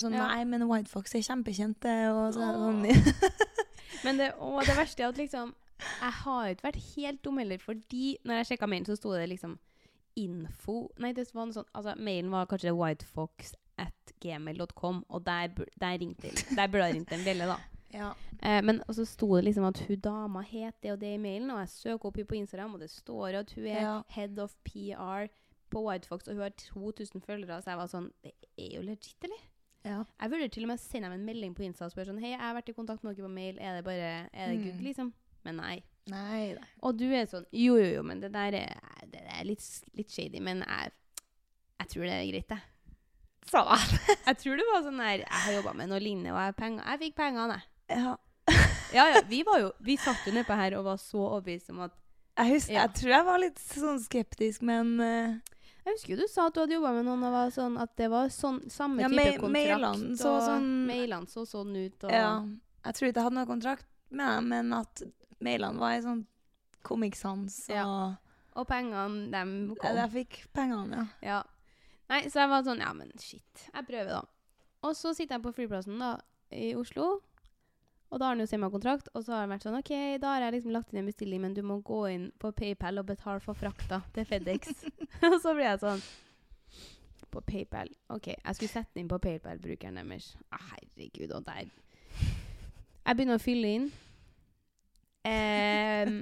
C: Sånn,
D: Ja.
C: Nei, men White Fox er kjempekjent, det. Og så, sånn, [laughs]
D: Men det, og det verste er at liksom Jeg har jo ikke vært helt dum heller, fordi når jeg sjekka mailen, så sto det liksom info Nei, det var noe sånn Altså, mailen var kanskje whitefox at gmail.com, og der, bur- der ringte Der burde jeg ringt en bjelle, da.
C: ja.
D: Eh, men og så sto det liksom at hun dama het det og det i mailen, og jeg søker opp henne på Instagram, og det står at hun er
C: Ja.
D: head of PR på Whitefox, og hun har 2000 følgere, så jeg var sånn Det er jo legit, eller?
C: Ja.
D: Jeg vurderer til og med å sende dem en melding på Insta og spørre sånn Hei, jeg har vært i kontakt med dere på mail. Er det bare Er det
C: Mm.
D: good, liksom? Men nei.
C: Nei da.
D: Og du er sånn Jo, jo, jo, men det der er, det der er litt, litt shady. Men jeg, jeg tror det er greit, jeg.
C: Sa jeg.
D: Jeg tror det var sånn der Jeg har jobba med noe lignende, og jeg, har penger, jeg fikk pengene, jeg.
C: [laughs] Ja.
D: Ja, ja. Vi var jo Vi satt jo nedpå her og var så overbevist om at
C: Jeg, husker,
D: Ja.
C: jeg tror jeg var litt sånn skeptisk, men eh,
D: Jeg husker jo du sa at du hadde jobba med noen og var sånn at det var sånn samme
C: Ja,
D: type
C: ma-
D: kontrakt.
C: mailene så
D: og
C: sånn-
D: Mailene så sånn ut, og
C: ja. Jeg tror ikke jeg hadde noen kontrakt med dem, men at mailene var i sånn Comic Sans og
D: Ja. Og pengene, dem kom.
C: Eller jeg fikk pengene, ja.
D: Ja. Nei, så jeg var sånn, ja, men shit. Jeg prøver, da. Og så sitter jeg på flyplassen da, i Oslo, og da har han jo semikontrakt, og så har han vært sånn, ok, da har jeg liksom lagt inn en bestilling, men du må gå inn på PayPal og betale for frakta til FedEx. og så blir jeg sånn, på PayPal. Ok, jeg skulle sette den inn på PayPal-brukeren deres. Ah, herregud, og der. Jeg begynner å fylle inn. Em,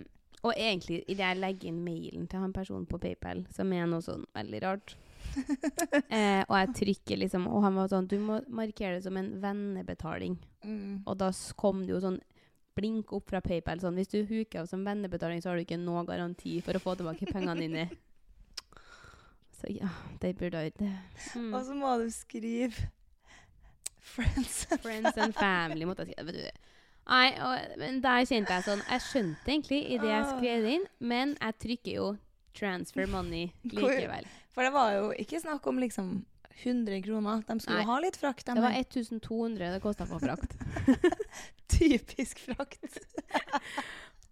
D: og egentlig, idet jeg legger inn mailen til han personen på PayPal, som er noe sånn veldig rart,
C: [laughs]
D: Eh, og jeg trykker liksom Og han var sånn Du må markere det som en vennebetaling.
C: Mm.
D: Og da s- kom det jo sånn blink opp fra PayPal. Sånn. Hvis du huker av som vennebetaling, så har du ikke noe garanti for å få tilbake pengene dine. Så ja, det burde jeg ikke mm.
C: Og så må du skrive Friends and,
D: Friends and family. måtte jeg skrive. Vet du. Nei, og, men der kjente jeg sånn Jeg skjønte egentlig i det
C: Ah.
D: jeg skrev det inn, men jeg trykker jo 'transfer
C: [laughs]
D: money' likevel.
C: For det var jo ikke snakk om liksom 100 kroner. De skulle
D: Nei.
C: jo ha litt frakt. de
D: Det var
C: her.
D: 1200 det kosta på frakt.
C: [laughs] Typisk frakt.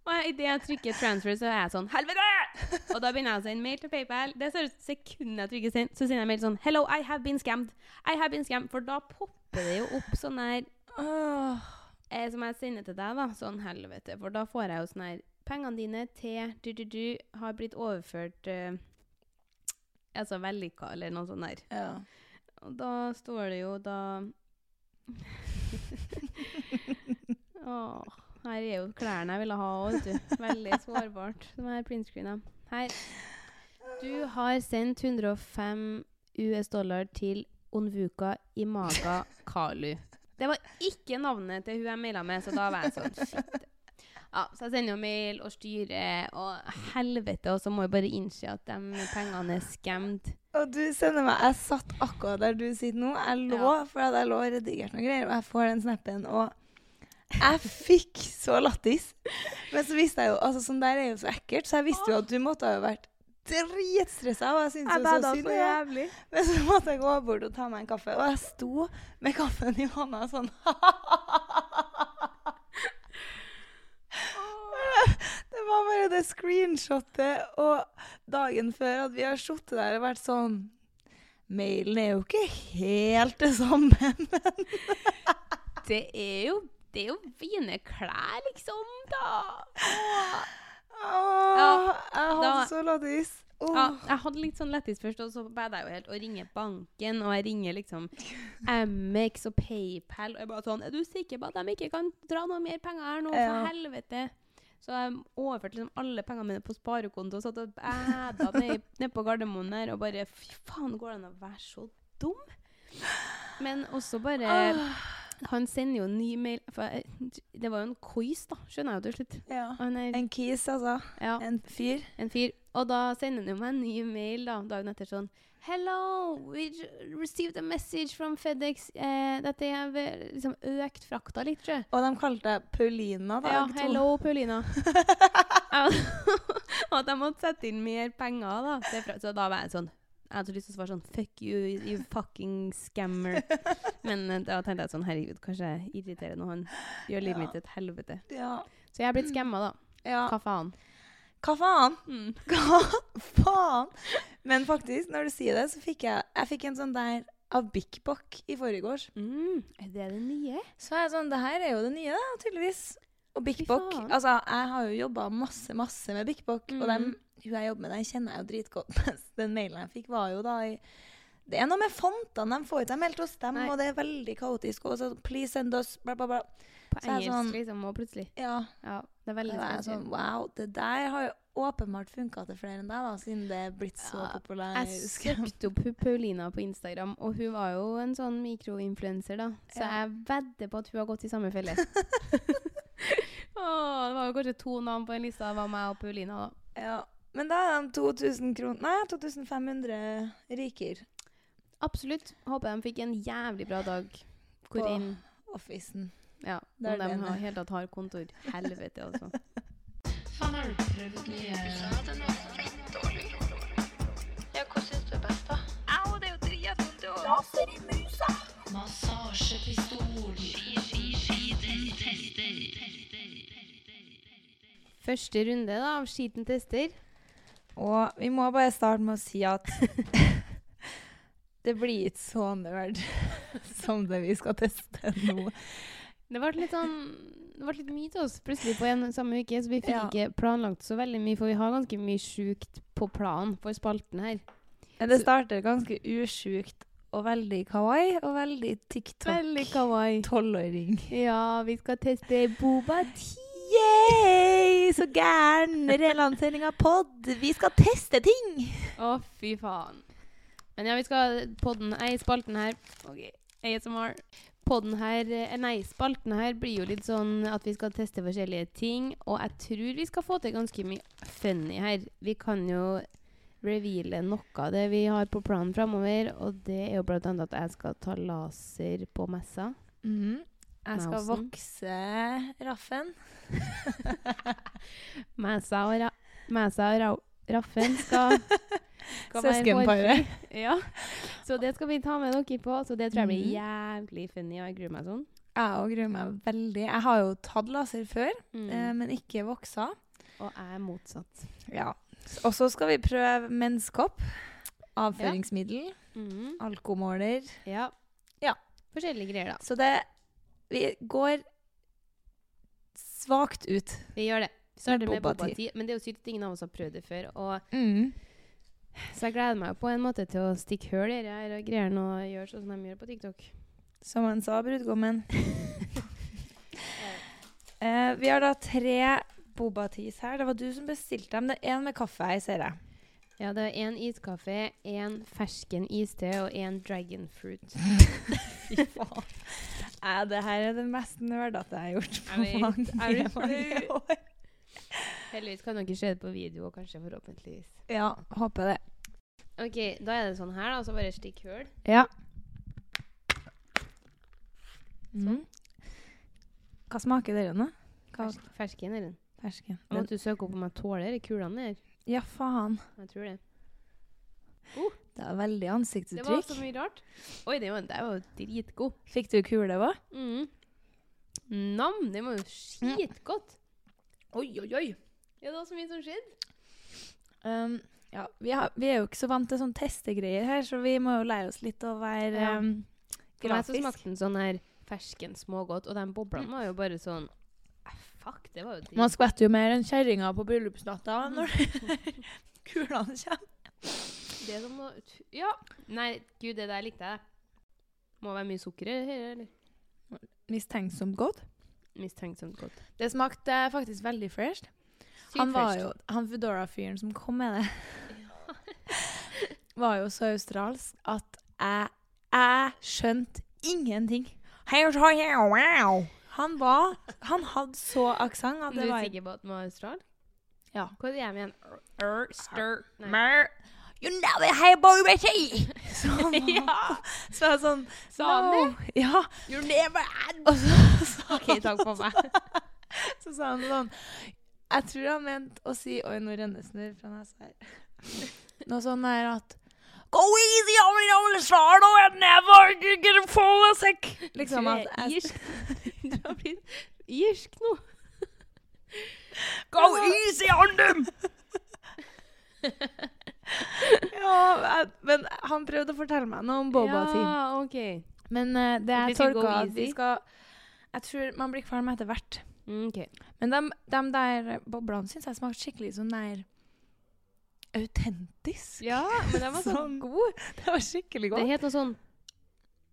D: Og idet jeg trykker 'transfer', så er jeg sånn 'helvete!' Og da begynner jeg å sende mail til PayPal. Det ser ut som sekundet jeg trykker send, så sender jeg mail sånn 'hello, I have been scammed'. I have been scammed. For da popper det jo opp sånn her eh, Som jeg sender til deg, da. Sånn helvete. For da får jeg jo sånn her Pengene dine til du-du-du har blitt overført eh, Altså vellykka, eller noe sånt der.
C: Ja.
D: Og da står det jo da [laughs] Åh, her er jo klærne jeg ville ha òg, vet du. Veldig sårbart. De her printscreena. Her. Du har sendt 105 US dollar til Onvuka Imaga Kalu. Det var ikke navnet til hun jeg maila med, så da var jeg sånn shit. Ja, så jeg sender jo mail og styrer og helvete, og så må jeg bare innse at de pengene er scammed.
C: Og du sender meg Jeg satt akkurat der du sitter nå. Jeg lå
D: Ja.
C: for at jeg lå og redigerte noen greier, og jeg får den snappen, og jeg fikk så lattis. Men så visste jeg jo altså Sånn der er jo så ekkelt, så jeg visste jo at du måtte ha vært dritstressa, og jeg syntes
D: Jeg
C: jo så
D: badet
C: synd
D: så
C: i deg.
D: jævlig.
C: Men så måtte jeg gå bort og ta meg en kaffe, og jeg sto med kaffen i hånda sånn [laughs] Det var bare det screenshotet, og dagen før at vi har sittet der og vært sånn Mailen er jo ikke helt det samme, men
D: Det er jo det er jo fine klær, liksom, da. Åh.
C: Åh,
D: Ja,
C: Jeg hadde
D: da-
C: så lattis. Åh.
D: Ja, jeg hadde litt sånn lettis først, og så bada jeg jo helt og ringer banken, og jeg ringer liksom Amex og PayPal, og jeg bare sånn Er du sikker på at de ikke kan dra noe mer penger her nå?
C: Ja.
D: For helvete! Så jeg overførte liksom alle pengene mine på sparekonto og satt og bæda ned, ned på Gardermoen der og bare Fy faen, går det an å være så dum? Men også bare Han sender jo en ny mail for jeg, Det var jo en quiz, da, skjønner jeg jo til slutt.
C: Ja.
D: Og han er-
C: En kis, altså.
D: ja.
C: En fyr.
D: En fyr. Og da sender han jo meg en ny mail da, dagen etter sånn Hello, we j- received a message from FedEx eh, that they have eh, liksom økt frakta litt, tror jeg.
C: Og de kalte deg Paulina, da.
D: Ja,
C: begge to. [laughs]
D: hello, Paulina. [laughs] Ja, Og at jeg måtte sette inn mer penger, da. Det er fra- Så da var jeg sånn Jeg hadde så lyst til å svare sånn Fuck you, you fucking [laughs] scammer. Men eh, da tenkte jeg sånn Herregud, kanskje jeg irriterer når han gjør livet
C: Ja.
D: mitt til et helvete.
C: Ja.
D: Så jeg er blitt skamma, da.
C: ja.
D: Hva faen?
C: Hva faen?
D: Mm.
C: [laughs] Hva faen? Men faktisk, når du sier det, så fikk jeg, jeg fikk en sånn der av Bik Bok i forgårs.
D: Mm. Er det det nye?
C: Så er jeg sånn, det her er jo det nye, da, tydeligvis. Og Bik
D: Fy
C: Bok
D: faen.
C: Altså, jeg har jo jobba masse, masse med Bik Bok, og dem,
D: Mhm.
C: hun jeg jobber med, den kjenner jeg jo dritgodt. [laughs] Mens den mailen jeg fikk, var jo da i Det er noe med fontene, de får ikke dem helt til å stemme,
D: Nei.
C: og det er veldig kaotisk. Og så 'please send us', bla, bla, bla.
D: På
C: Så jeg er
D: engelsk,
C: sånn-
D: liksom, og plutselig.
C: Ja.
D: Ja, det er
C: Da
D: veldig
C: er jeg
D: spesielt.
C: sånn, wow, det der har jo åpenbart funka til flere enn deg, da, siden det er blitt så
D: Ja,
C: populært.
D: Jeg søkte opp hun Paulina på Instagram, og hun var jo en sånn mikroinfluenser, da. Så
C: Ja.
D: jeg vedder på at hun har gått i
C: [laughs]
D: samme felle. Åh, det var jo kanskje to navn på en liste. Det var meg og Paulina, da.
C: [laughs] Ja, men da er de 2000 kroner Nei, 2500 riker
D: Absolutt. Håper de fikk en jævlig bra dag.
C: På-
D: Hvor inn
C: Offisen.
D: Ja,
C: Der
D: om de
C: den er.
D: har, helt tatt har kontor. Helvete, altså.
F: Faen, har du prøvd nye Ja, den var fettdårlig. Ja, hva syns du er best, da? Au, det er jo dritvondt, jo. Laser i musa. Massasjepistol.
D: Første runde da, av Skiten tester.
C: Og vi må bare starte med å si at [laughs] det blir ikke så nerd [laughs] som det vi skal teste nå.
D: Det ble litt sånn det ble litt mye til oss plutselig på en samme uke, så vi fikk
C: Ja.
D: ikke planlagt så veldig mye, for vi har ganske mye sjukt på planen for spalten her.
C: Men det starter ganske usjukt og veldig kawaii og veldig
D: Veldig kawaii.
C: TikTok-tolvåring.
D: Ja, vi skal teste Boba Tea.
C: Yay! Så gæren relansering av pod. Vi skal teste ting!
D: Å, fy faen. Men ja, vi skal podden ei spalten her. ASMR. podden her, eh, nei, spalten her blir jo litt sånn at vi skal teste forskjellige ting, og jeg tror vi skal få til ganske mye funny her. Vi kan jo reveale noe av det vi har på planen framover, og det er jo blant annet at jeg skal ta laser på messa.
C: Mhm. Jeg skal
D: Mausen.
C: vokse [laughs] Raffen.
D: Mæsa og, ra Mæsa og ra Raffen [laughs] skal, skal være
C: Søskenparet.
D: hårfri. Ja. Så det skal vi ta med dere på. Så det tror jeg blir
C: Mhm.
D: jævlig funny, og jeg gruer meg sånn.
C: Jeg òg gruer meg veldig. Jeg har jo tatt laser før,
D: Mm.
C: eh, men ikke voksa.
D: Og jeg er motsatt.
C: Ja. Og så skal vi prøve menskopp. Avføringsmiddel.
D: Mhm.
C: Alkomåler.
D: Ja.
C: Ja.
D: Forskjellige greier, da.
C: Så det Vi går svakt ut.
D: Vi gjør det. Vi starter med
C: Boba
D: Boba
C: Tea.
D: Tea. Men det er jo sykt at ingen av oss har prøvd det før. Og
C: Mm.
D: så jeg gleder meg jo på en måte til å stikke hull i de her greiene og gjøre sånn som de gjør på TikTok.
C: Som han sa, brudgommen. [laughs] Eh, vi har da tre Boba Teas her. Det var du som bestilte dem. Det er én med kaffe her, ser [laughs] jeg.
D: Ja, det er én iskaffe, én fersken iste og én dragon fruit. Fy faen.
C: Nei, det her er det mest nerdete jeg har gjort på
D: Jeg vet. Er
C: mange,
D: du
C: mange
D: flau?
C: år.
D: Heldigvis kan dere se det på video, og kanskje forhåpentligvis.
C: Ja, håper det.
D: Ok, da er det sånn her, da. Så bare stikk hull.
C: Ja. Mm. Hva smaker dere nå? Hva?
D: Fersk, fersken er den.
C: Fersken.
D: Jeg måtte jo søke opp om jeg tåler de kulene der.
C: Ja, faen.
D: Jeg tror det.
C: Det er veldig
D: Det var
C: ansiktsuttrykk.
D: så mye rart. Oi, den var, den var jo dritgod.
C: Fikk du kule òg?
D: Mm. Nam, det var jo skitgodt. Oi, oi, oi. Ja, det var så mye som skjedde.
C: Um, ja, vi, har, vi er jo ikke så vant til sånn testegreier her, så vi må jo lære oss litt å være
D: Ja.
C: um,
D: For meg så
C: grafisk.
D: smakte den sånn her fersken smågodt, og den boblene var jo bare sånn eh, Fuck, det var jo dritt.
C: Man skvetter jo mer enn kjerringa på bryllupsnatta når [laughs] kulene kommer.
D: Det er som å ut- Ja. Nei, gud, det der likte jeg. Må være mye sukker i det her, eller?
C: Mistenksomt godt.
D: Mistenksomt godt.
C: Det smakte faktisk veldig fresht.
D: Sykt
C: Han var
D: fresh.
C: jo, han Foodora-fyren som kom med det, [laughs] var jo så australsk at jeg, jeg skjønte ingenting. Han var Han hadde så aksent at
D: Du
C: det
D: er
C: var
D: sikker på at den var australsk?
C: Ja.
D: Hva er det jeg mener? Er, stir, nei.
C: You know it, hey boy, Betty! [laughs] Så han var- så jeg sånn
D: Sa han
C: no. Ja.
D: You never
C: Og så, så,
D: OK, takk for meg.
C: [laughs] så sa han sånn Jeg tror han mente å si Oi, nå renner snørr fra nesa her. Noe sånn der at Go easy on it, on the star, no, and never you get a fall a sec. Liksom
D: Du
C: at jeg-
D: er irsk. Du har blitt irsk nå.
C: Go easy on them! [laughs] ja, jeg, men han prøvde å fortelle meg noe om Boba Tea.
D: Ja, OK.
C: Men eh, det
D: At vi
C: jeg
D: skal
C: tolka
D: go
C: at vi
D: easy?
C: skal Jeg tror man blir kvalm etter hvert.
D: Mm, ok.
C: Men de, der boblene syns jeg smakte skikkelig sånn der Autentisk.
D: Ja, men den var så
C: [laughs] Sånn.
D: god.
C: Det var skikkelig
D: Det
C: godt.
D: het noe sånn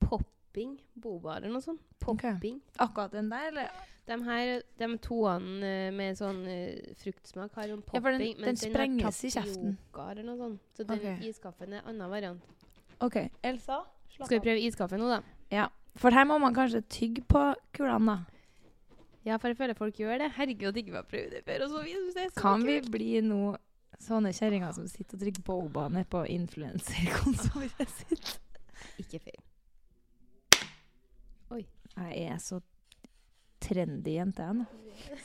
D: popping boba eller noe sånt. Popping.
C: Akkurat den der, eller?
D: De her, de toene eh, med sånn eh, fruktsmak har jo en
C: Ja,
D: popping,
C: for den- den
D: mens har
C: sprenges i kjeften.
D: tapioca eller noe sånt. Så den
C: Ok.
D: iskaffen er annen variant.
C: OK. Elsa? Slapp
D: Skal vi prøve iskaffe nå, da?
C: Ja. For her må man kanskje tygge på kulene, da.
D: Ja, for jeg føler folk gjør det. Herregud, at ikke vi har prøvd det før. Og så videre. Det er så
C: Kan vi
D: kult.
C: bli nå sånne kjerringer som sitter og trykker boba nede på influenserkontoret [laughs] sitt?
D: Ikke feil.
C: Jeg er så trendy jente, jeg nå.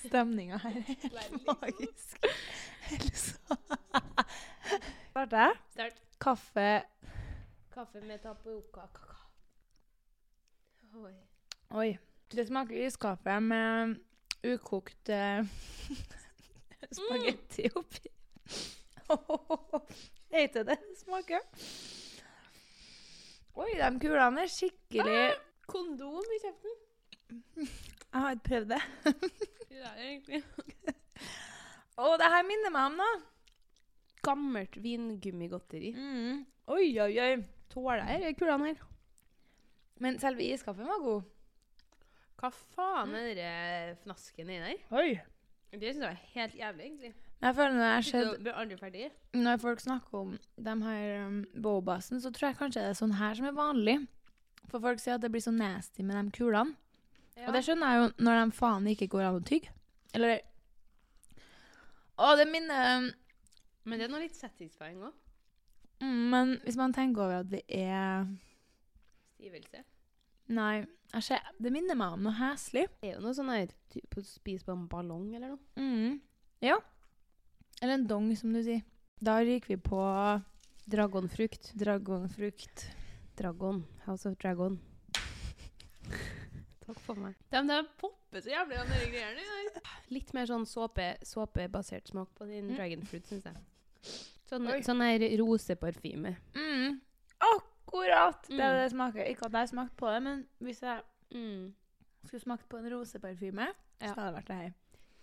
C: Stemninga her er helt magisk. [laughs] Elsa. Starter jeg?
D: Start.
C: Kaffe
D: Kaffe med tapioca kaka. Oi.
C: Oi. Det smaker iskaffe med ukokt eh, [laughs] spagetti oppi. [laughs] Heter det det smaker? Oi, de kulene er skikkelig Jeg
D: Kondom i kjeften?
C: har ikke prøvd det.
D: Ja, egentlig.
C: [laughs] Å, det her minner meg om noe.
D: Gammelt vingummigodteri.
C: Oi, oi, oi.
D: Tåler jeg de kulene her?
C: Men selve iskaffen var god.
D: Hva faen er det fnasken i der?
C: Oi.
D: Det syns jeg er helt jævlig, egentlig.
C: Jeg føler når jeg ser
D: Blir aldri ferdig.
C: Når folk snakker om de her um, bobasen, så tror jeg kanskje det er sånn her som er vanlig. For folk sier at det blir så nasty med de kulene. Og det skjønner jeg jo når de faen ikke går an å tygge. Eller Å, det minner um,
D: Men det er noe litt satisfying òg.
C: mm, Men hvis man tenker over at det er
D: Stivelse.
C: Nei, jeg ser, det minner meg om noe heslig.
D: Det er jo noe sånn her ty- på- Spis på en ballong eller noe.
C: Mm. Ja. Eller en dong, som du sier. Da ryker vi på
D: Dragonfrukt.
C: dragonfrukt.
D: Dragon. House of Dragon. Takk for meg. De der popper så jævlig, de der greiene der. Litt mer sånn såpe, såpebasert smak på din
C: Mm.
D: dragonfruit, syns jeg. Sånn,
C: Oi.
D: sånn her roseparfyme.
C: Mm. Akkurat! Det er
D: Mm.
C: det det smaker. Ikke at jeg har smakt på det, men hvis jeg
D: Mm.
C: skulle smakt på en roseparfyme,
D: Ja.
C: så hadde det vært det her.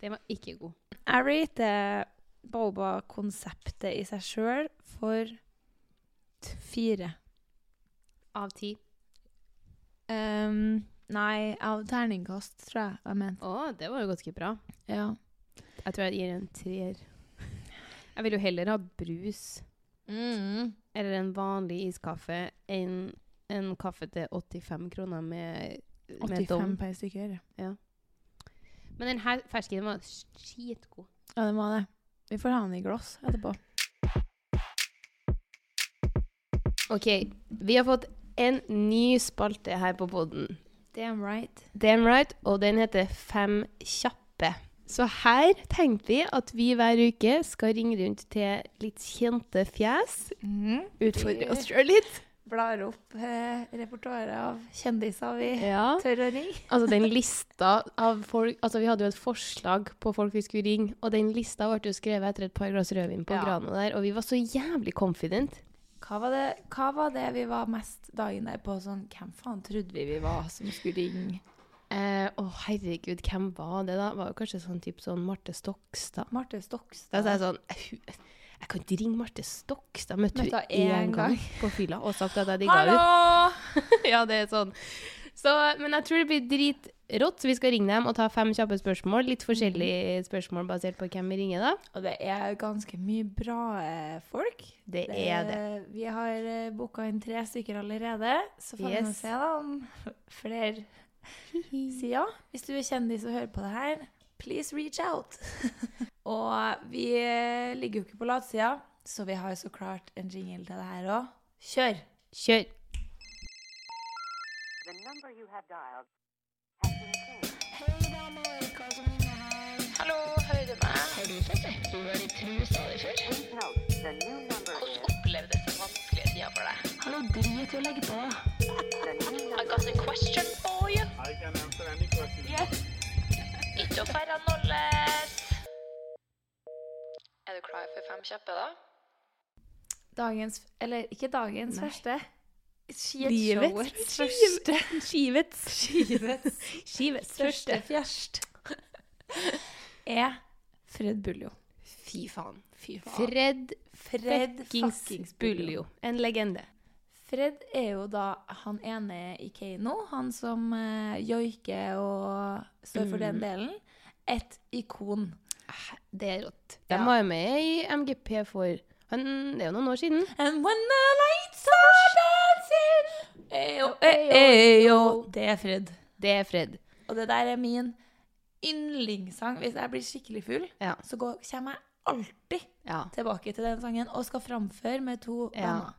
D: Den var ikke god.
C: Jeg rater boba-konseptet i seg sjøl for t- fire.
D: Av ti.
C: Ehm, nei, av terningkast, tror jeg jeg mente.
D: Å, det var jo ganske bra.
C: Ja.
D: Jeg tror jeg gir en treer. Jeg vil jo heller ha brus
C: Mm.
D: eller en vanlig iskaffe enn en kaffe til 85 kroner med, med
C: 85
D: dom.
C: per stykker.
D: Men den her fersken var skitgod.
C: Ja, det var det. Vi får ha den i glass etterpå.
D: Ok, vi har fått en ny spalte her på podden.
C: Damn right.
D: Damn right, og den heter Fem kjappe. Så her tenkte vi at vi hver uke skal ringe rundt til litt kjente fjes. Utfordre oss sjøl litt.
C: Blar opp eh, repertoaret av kjendiser vi
D: Ja.
C: tør å ringe.
D: Altså den lista av folk Altså vi hadde jo et forslag på folk vi skulle ringe, og den lista ble jo skrevet etter et par glass rødvin på
C: Ja.
D: Grano der, og vi var så jævlig confident.
C: Hva var, det, hva var det vi var mest dagen der på? Sånn, hvem faen trodde vi vi var som skulle ringe?
D: Eh, Å herregud, hvem var det da? Var jo kanskje sånn typ sånn Marte Stokstad?
C: Marte
D: Da
C: Stokstad.
D: sa jeg sånn «Hun- Jeg kan ikke ringe Marte Stokstad. Møtte hun
C: Møtte hun
D: én gang.
C: én gang.
D: på fylla og sagt at jeg digga henne. [laughs]
C: Hallo!
D: ja, det er sånn. Så, men jeg tror det blir dritrått, så vi skal ringe dem og ta fem kjappe spørsmål. Litt forskjellige
C: Mm.
D: spørsmål basert på hvem vi ringer, da.
C: Og det er ganske mye bra eh, folk.
D: Det er det.
C: Vi har eh, booka inn tre stykker allerede, så får vi nå
D: Yes.
C: se da om flere sier ja. Hvis du er kjendis og hører på det her, please reach out. [laughs] og vi eh, ligger jo ikke på latsida, så vi har så klart en jingle til det her òg. Kjør!
D: Kjør.
A: Hallo, hører du meg? Har du sett at du har i trusa di før? Hvordan opplevdes den vanskelige tida for deg? Hallo, drit i å legge på deg. I got a question for you. I can answer any question. Yes. Ikke å færre nolles. Er du klar for fem kjappe, da?
C: Dagens Eller ikke dagens
D: Nei.
C: første.
D: Livets
C: Skivets første.
D: [laughs] Skivets.
C: Skivets
D: [laughs] Skivets
C: største
D: første.
C: fjerst [laughs] er Fred Buljo.
D: Fy faen. Fy
C: faen.
D: Fred
C: Fred
D: fuckings
C: fuckings Buljo.
D: Buljo. En legende.
C: Fred er jo da han ene i Keiino, han som eh, joiker og står for den delen. Et ikon.
D: Mm. Ah, Det er rått. De var jo med i MGP for han, Det er jo noen år siden.
C: And when the lights are dancing eh, Eyo, eyo, eyo. Det er Fred.
D: Det er Fred.
C: Og det der er min yndlingssang. Hvis jeg blir skikkelig full,
D: Ja.
C: så går, kommer jeg alltid
D: Ja.
C: tilbake til den sangen og skal framføre med to
D: Ja.
C: venner.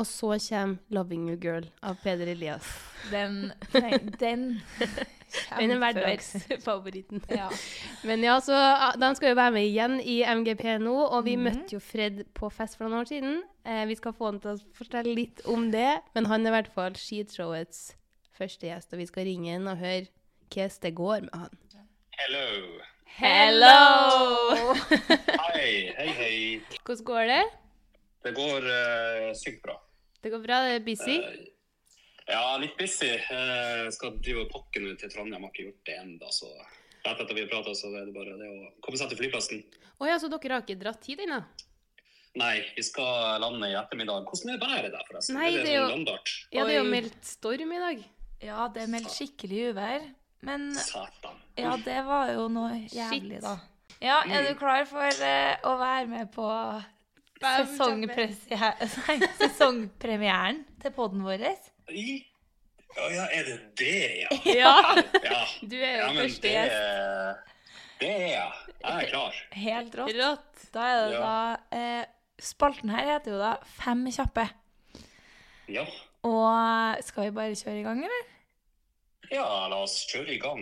D: Og så kommer 'Loving You Girl' av Peder Elias.
C: Den, den, den
D: Den er
C: kjemper.
D: hverdagsfavoritten.
C: Ja.
D: Men ja, så ah, de skal jo være med igjen i MGP nå, og vi møtte jo Fred på fest for noen år siden. Eh, vi skal få han til å fortelle litt om det, men han er i hvert fall skishowets første gjest, og vi skal ringe han og høre hvordan det går med han.
H: Hello.
D: Hello!
H: Hei, hei, hei.
D: hvordan går det?
H: Det går eh, sykt bra. Eh,
D: Det går bra, det er busy.
H: Ja, litt busy. Eh, skal drive og pakke nå til Trondheim. Har ikke gjort det ennå, så rett etter vi har prata, så er det bare det å komme seg til flyplassen.
D: Å ja, så dere har ikke dratt hit ennå?
H: Nei, vi skal lande i ettermiddag. Hvordan er været der, forresten?
D: Nei, det er jo-
H: sånn landart?
D: Ja, det er jo
C: Oi.
D: meldt storm i dag.
C: Ja, det er meldt skikkelig uvær. Men
H: Satan.
C: ja, det var jo noe jævlig, da. Ja,
H: Mm.
C: er du klar for eh, å være med på [laughs] sesongpresi- nei, sesongpremieren til poden vår?
H: I Å ja, er det det, ja?
C: [laughs]
D: Ja.
H: ja.
D: Du er jo
H: ja, men
D: første
H: det,
D: gjest.
H: Det er jeg. Jeg er klar.
C: Helt rått. Da er det
H: Ja.
C: da eh, Spalten her heter jo da Fem kjappe.
H: Ja.
C: Og eh, skal vi bare kjøre i gang, eller?
H: ja, la oss kjøre i gang.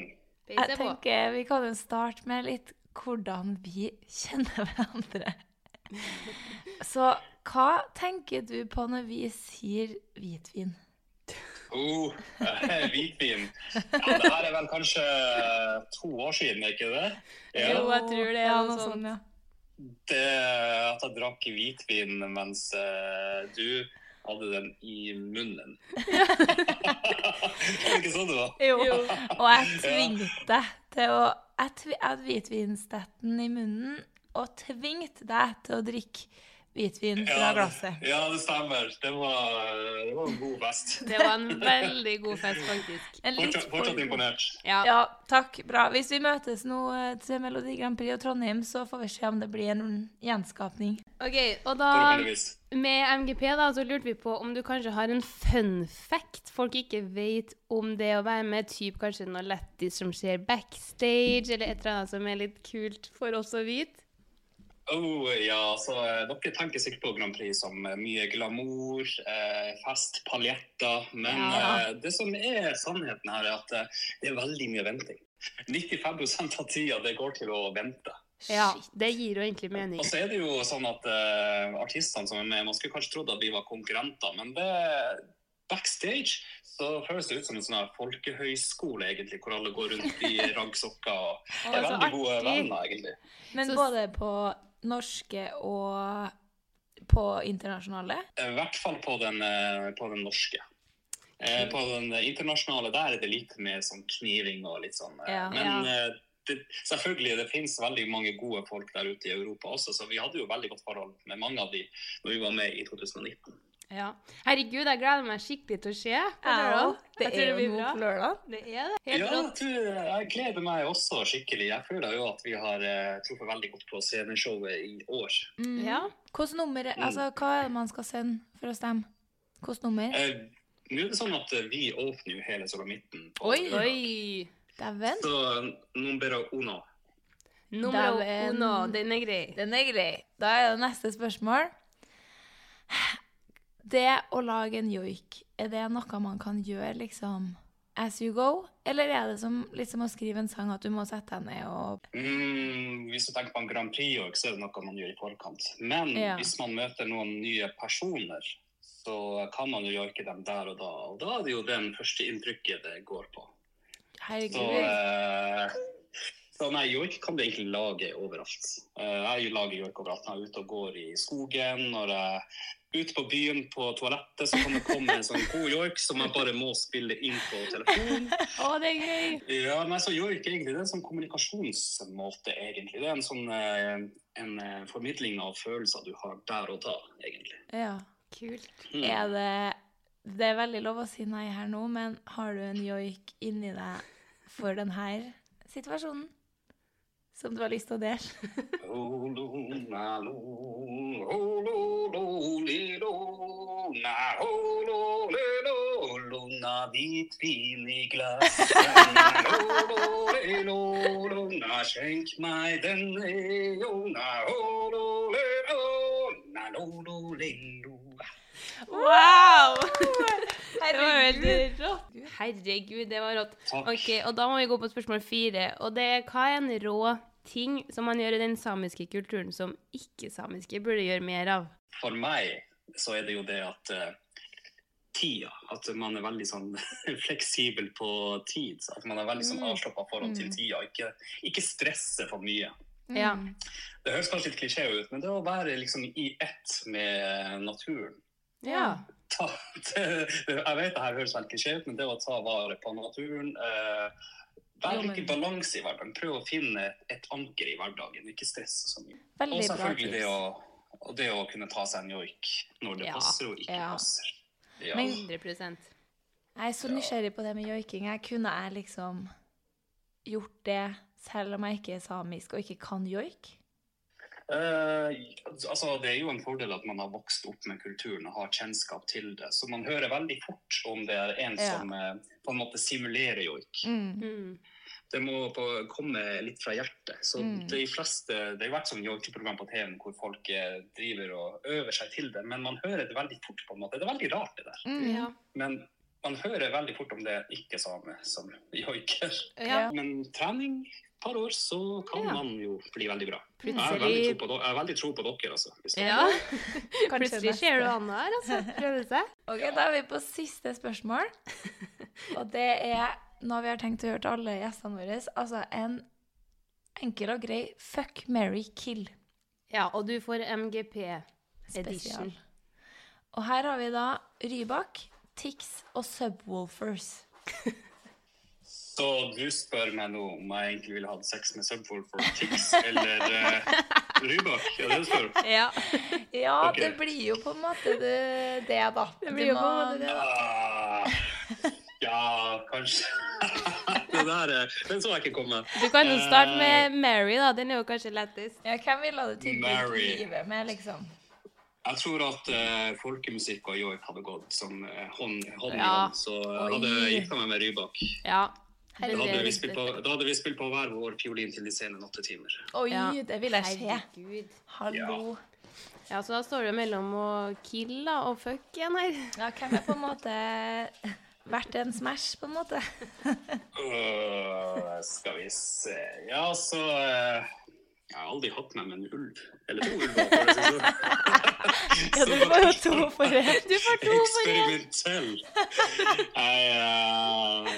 C: Jeg tenker vi kan jo starte med litt hvordan vi kjenner
D: [laughs]
C: hverandre. Så hva tenker du på når vi sier hvitvin?
H: Oh, eh, [laughs] hvitvin. Ja, det her er vel kanskje to år siden, er ikke det? Ja.
D: Jo, jeg tror det er
C: Ja, noe sånn,
D: noe sånn sånt.
C: sånt, ja.
H: Det at jeg drakk hvitvin mens eh, du hadde den i munnen. [laughs] Var det ikke sånn det var?
C: Og jeg tvingte deg til å Jeg tvi- jeg hadde hvitvinstetten i munnen og tvingte deg til å drikke hvitvin fra glasset.
H: Ja, det stemmer. Det var, det var en god fest.
D: Det var en veldig god fest, faktisk.
C: En litt
H: Fortsatt, fortsatt imponert.
C: Ja. takk. Bra. Hvis vi møtes nå eh, til Melodi Grand Prix og Trondheim, så får vi se om det blir en gjenskapning.
D: Ok, og da
H: Forhåpentligvis.
D: Med MGP da, så lurte vi på om du kanskje har en fun fact folk ikke vet om det å være med, typ kanskje noe lættis som skjer backstage, eller et eller annet som er litt kult for oss å vite.
H: Oh, ja, så eh, Dere tenker sikkert på Grand Prix som eh, mye glamour, eh, fest, paljetter. Men
F: Ja.
H: eh, det som er sannheten her, er at eh, det er veldig mye venting. 95 av tida det går til å vente.
D: Ja, det gir jo egentlig mening.
H: Og så er det jo sånn at eh, artistene som er med, man skulle kanskje trodd at vi var konkurrenter, men det backstage så føles det ut som en sånn her folkehøyskole, egentlig, hvor alle går rundt
C: [laughs]
H: i raggsokker og
C: Å,
H: er
C: så
H: veldig gode
C: artig.
H: venner, egentlig.
C: Men både på norske og på internasjonale.
H: I hvert fall på den, eh, på den norske. Eh, På den eh, internasjonale der er det litt mer sånn kniving og litt sånn. eh,
F: Ja.
H: Men
F: Ja.
H: eh, det, selvfølgelig, det finnes veldig mange gode folk der ute i Europa også, så vi hadde jo veldig godt forhold med mange av de når vi var med i 2019.
D: Ja. Herregud, jeg gleder meg skikkelig til å se. på
C: Jeg
D: lørdag.
C: òg. Det
D: Jeg tror
C: er jo
D: blir
C: nå
D: bra.
C: på lørdag.
D: Det er det. Helt
H: ja,
D: rått.
H: du, jeg gleder meg også skikkelig. Jeg føler jo at vi har eh, truffet veldig godt på sceneshowet i år.
D: Mm.
C: Hvilket nummer
H: Mm.
C: Altså, hva er det man skal sende for å stemme? Hvilket nummer?
H: Eh, Nå er det sånn at eh, vi åpner jo hele Solamitten. på
C: Oi.
H: lørdag.
C: Dæven.
H: Så numero uno.
D: Nummer
C: Dæven.
D: uno, den er grei.
C: Den er grei. Da er det neste spørsmål. Det å lage en joik, er det noe man kan gjøre liksom as you go? Eller er det som liksom å skrive en sang at du må sette deg ned og
H: Mm, hvis du tenker på en Grand Prix, og ikke, så er det noe man gjør i forkant. Men
C: Ja.
H: hvis man møter noen nye personer, så kan man jo joike dem der og da. Og da er det jo den første inntrykket det går på. Så,
C: Herregud.
H: eh, så nei, joik kan du egentlig lage overalt. Eh, jeg lager joik overalt. Når jeg er ute og går i skogen, når jeg er ute på byen på toalettet, så kan det komme en sånn god joik som jeg bare må spille inn på telefonen.
D: Å, det er gøy.
H: Ja, nei, så joik egentlig, det er en sånn kommunikasjonsmåte, egentlig. Det er en sånn eh, en eh, formidling av følelser du har der og da, egentlig.
C: Ja.
D: Kult.
H: Mm.
C: Er det Det er veldig lov å si nei her nå, men har du en joik inni deg for denne situasjonen? Som du har lyst til å dele?
H: Lona hvitvin i glass Lona, skjenk meg denne Lona Lona, lololelo
D: Wow!
C: Herregud.
D: Det var helt rått. Herregud, det var rått. Ok, og Da må vi gå på spørsmål fire. Og det er hva er en rå ting som man gjør i den samiske kulturen som ikke-samiske burde gjøre mer av?
H: for meg så er det jo det at eh, tida At man er veldig sånn [laughs] fleksibel på tid. så At man er veldig sånn
F: Mm.
H: avslappa forhold til
F: Mm.
H: tida. Ikke, ikke stresse for mye.
D: Ja.
C: Mm.
H: Det høres kanskje litt klisjé ut, men det å være liksom i ett med naturen
D: Ja.
H: ta, det, Eh, Jeg vet det her høres veldig klisjé ut, men det å ta vare på naturen eh, Vær
C: Jo, men-
H: litt i balanse i hverdagen. Prøv å finne et anker i hverdagen. Ikke stresse så mye.
C: Veldig
H: og
C: bra
H: selvfølgelig
C: tips.
H: det å, og det å kunne ta seg en joik når det
C: Ja,
H: passer og ikke
C: ja.
H: passer. Ja.
C: Men-
D: 100
C: Jeg er så nysgjerrig på det med joiking. Jeg kunne jeg liksom gjort det selv om jeg ikke er samisk og ikke kan joik?
H: Eh, altså, det er jo en fordel at man har vokst opp med kulturen og har kjennskap til det. Så man hører veldig fort om det er en
F: Ja.
H: som eh, på en måte simulerer joik.
C: Mm.
H: Det må på, komme litt fra hjertet. Så
F: Mm.
H: de fleste, Det har vært sånn joikeprogram på TV-en hvor folk eh, driver og øver seg til det, men man hører det veldig fort. på en måte. Det er veldig rart, det der.
F: Mm. Ja.
H: Men man hører veldig fort om det er ikke-same som joiker.
F: Ja.
H: Men trening et par år, så kan man jo bli veldig bra. Jeg har veldig
D: Plutselig-
H: tro på, do- jeg har veldig tro på dere, altså. Hvis dere-
D: [laughs] Ja.
C: Kanskje
D: Plutselig ser du
C: neste.
D: Anna her, altså. Prøve seg.
C: Ok, Da er vi på siste [laughs] spørsmål. Og det er noe vi har tenkt å gjøre til alle gjestene våre. Altså en enkel og grei fuck, marry, kill.
I: Ja, og du får MGP edition.
C: Spesial. Og her har vi da Rybak, Tix og Subwoolfers.
H: Så du spør meg nå om jeg egentlig ville hatt sex med Subwool for Tix eller uh, Rybak? Er det det du spør
D: [laughs]
H: om?
C: Ja, ja
H: Ok.
C: det blir jo på en måte det, det da.
F: Det
C: Du
H: blir jo på
C: må-
H: en måte det, da. Ah, Ja, kanskje. det der, eh, den så jeg ikke komme.
D: Du kan jo starte
H: Eh,
D: med Mary, da. Den er jo kanskje lettest.
C: Ja, hvem vil ha det
H: Mary.
C: med, liksom?
H: Jeg tror at eh, folkemusikk og joik hadde gått som eh, hånd, hånd i
D: Ja.
H: hånd, så jeg hadde
D: Oi.
H: gifta meg med Rybak.
D: Ja.
H: Da hadde, vi spilt på, da hadde vi spilt på hver vår fiolin til de sene åtte timer.
C: Oi, det vil jeg se.
I: Herregud.
C: Hallo.
D: Ja, så da står det mellom å kill da, og fuck igjen her.
C: Ja, hvem er på en måte verdt en smash, på en måte?
H: Øh, skal vi se Ja, så eh, Jeg har aldri hatt meg med en ulv. Eller to ulver. for å si det sånn.
C: [laughs] Ja, du får jo to for det.
D: Du får to for det.
H: Eksperimentell. Jeg, eh,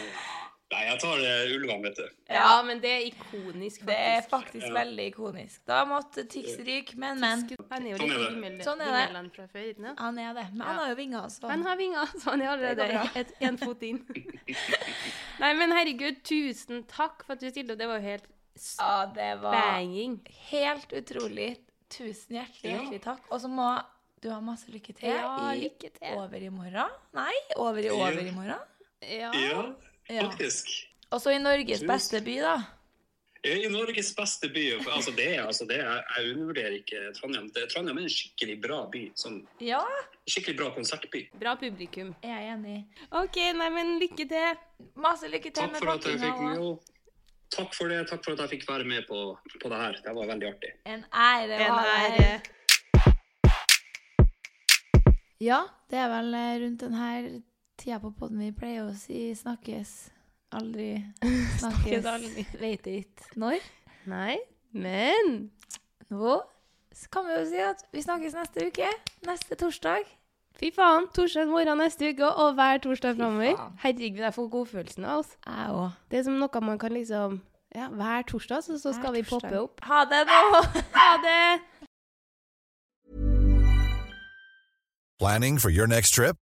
H: nei, jeg tar eh, ulvene, vet du.
D: Ja, men det er ikonisk, faktisk.
C: Det er faktisk
H: Ja.
C: veldig ikonisk. Da måtte Tix ryke, men, men.
D: Han er jo
H: Sånn er
D: litt
H: det.
D: himmel-
C: Sånn er det.
D: himmelen fra før. ikke sant?
C: Han er det. Men han
D: Ja.
C: har jo vinger, altså.
D: Han har vinger, [laughs] så han er
C: Det går
D: allerede
C: bra.
D: et, en fot
H: [laughs]
D: inn. Nei, men herregud, tusen takk for at du stilte opp. Det var jo helt
C: Ja, det var
D: banging.
C: helt utrolig. Tusen hjertelig,
D: Ja.
C: hjertelig takk. Og så må du ha masse lykke til
D: Ja,
C: i
D: lykke til.
C: over i morgen. Nei, over i over i morgen.
D: Ja.
H: Ja,
C: Ja.
H: faktisk.
C: Og så i Norges
H: Tusen-
C: beste by, da.
H: I i Norges beste by. for Altså det, er- altså det, er- jeg undervurderer ikke Trondheim. Det- Trondheim er en skikkelig bra by. Sånn,
C: Ja,
H: skikkelig bra konsertby.
D: Bra publikum.
C: jeg er enig.
D: OK, nei, men lykke til.
C: Masse lykke til
H: Takk
C: med
H: for at jeg
C: bakkinga
H: fikk
C: også.
H: jo, Takk for det. Takk for at jeg fikk være med på, på det her. Det var veldig artig.
C: En ære å
D: En
C: ha deg
D: ære.
C: her. Ja, det er vel eh, rundt denne tida på podden vi pleier å si snakkes. Aldri snakkes.
D: [laughs] Snakkes aldri.
C: Vet ikke når.
D: Nei, men
C: Nå så kan vi jo si at vi snakkes neste uke. Neste torsdag.
D: Fy faen, torsdag morgen neste uke og hver torsdag framover. Herregud, jeg får godfølelsen av oss.
C: Jeg òg.
D: Det er som noe man kan liksom Ja, hver torsdag så, så skal vi poppe opp.
C: Ha det nå!
D: Ha det!
J: Planning for your next trip?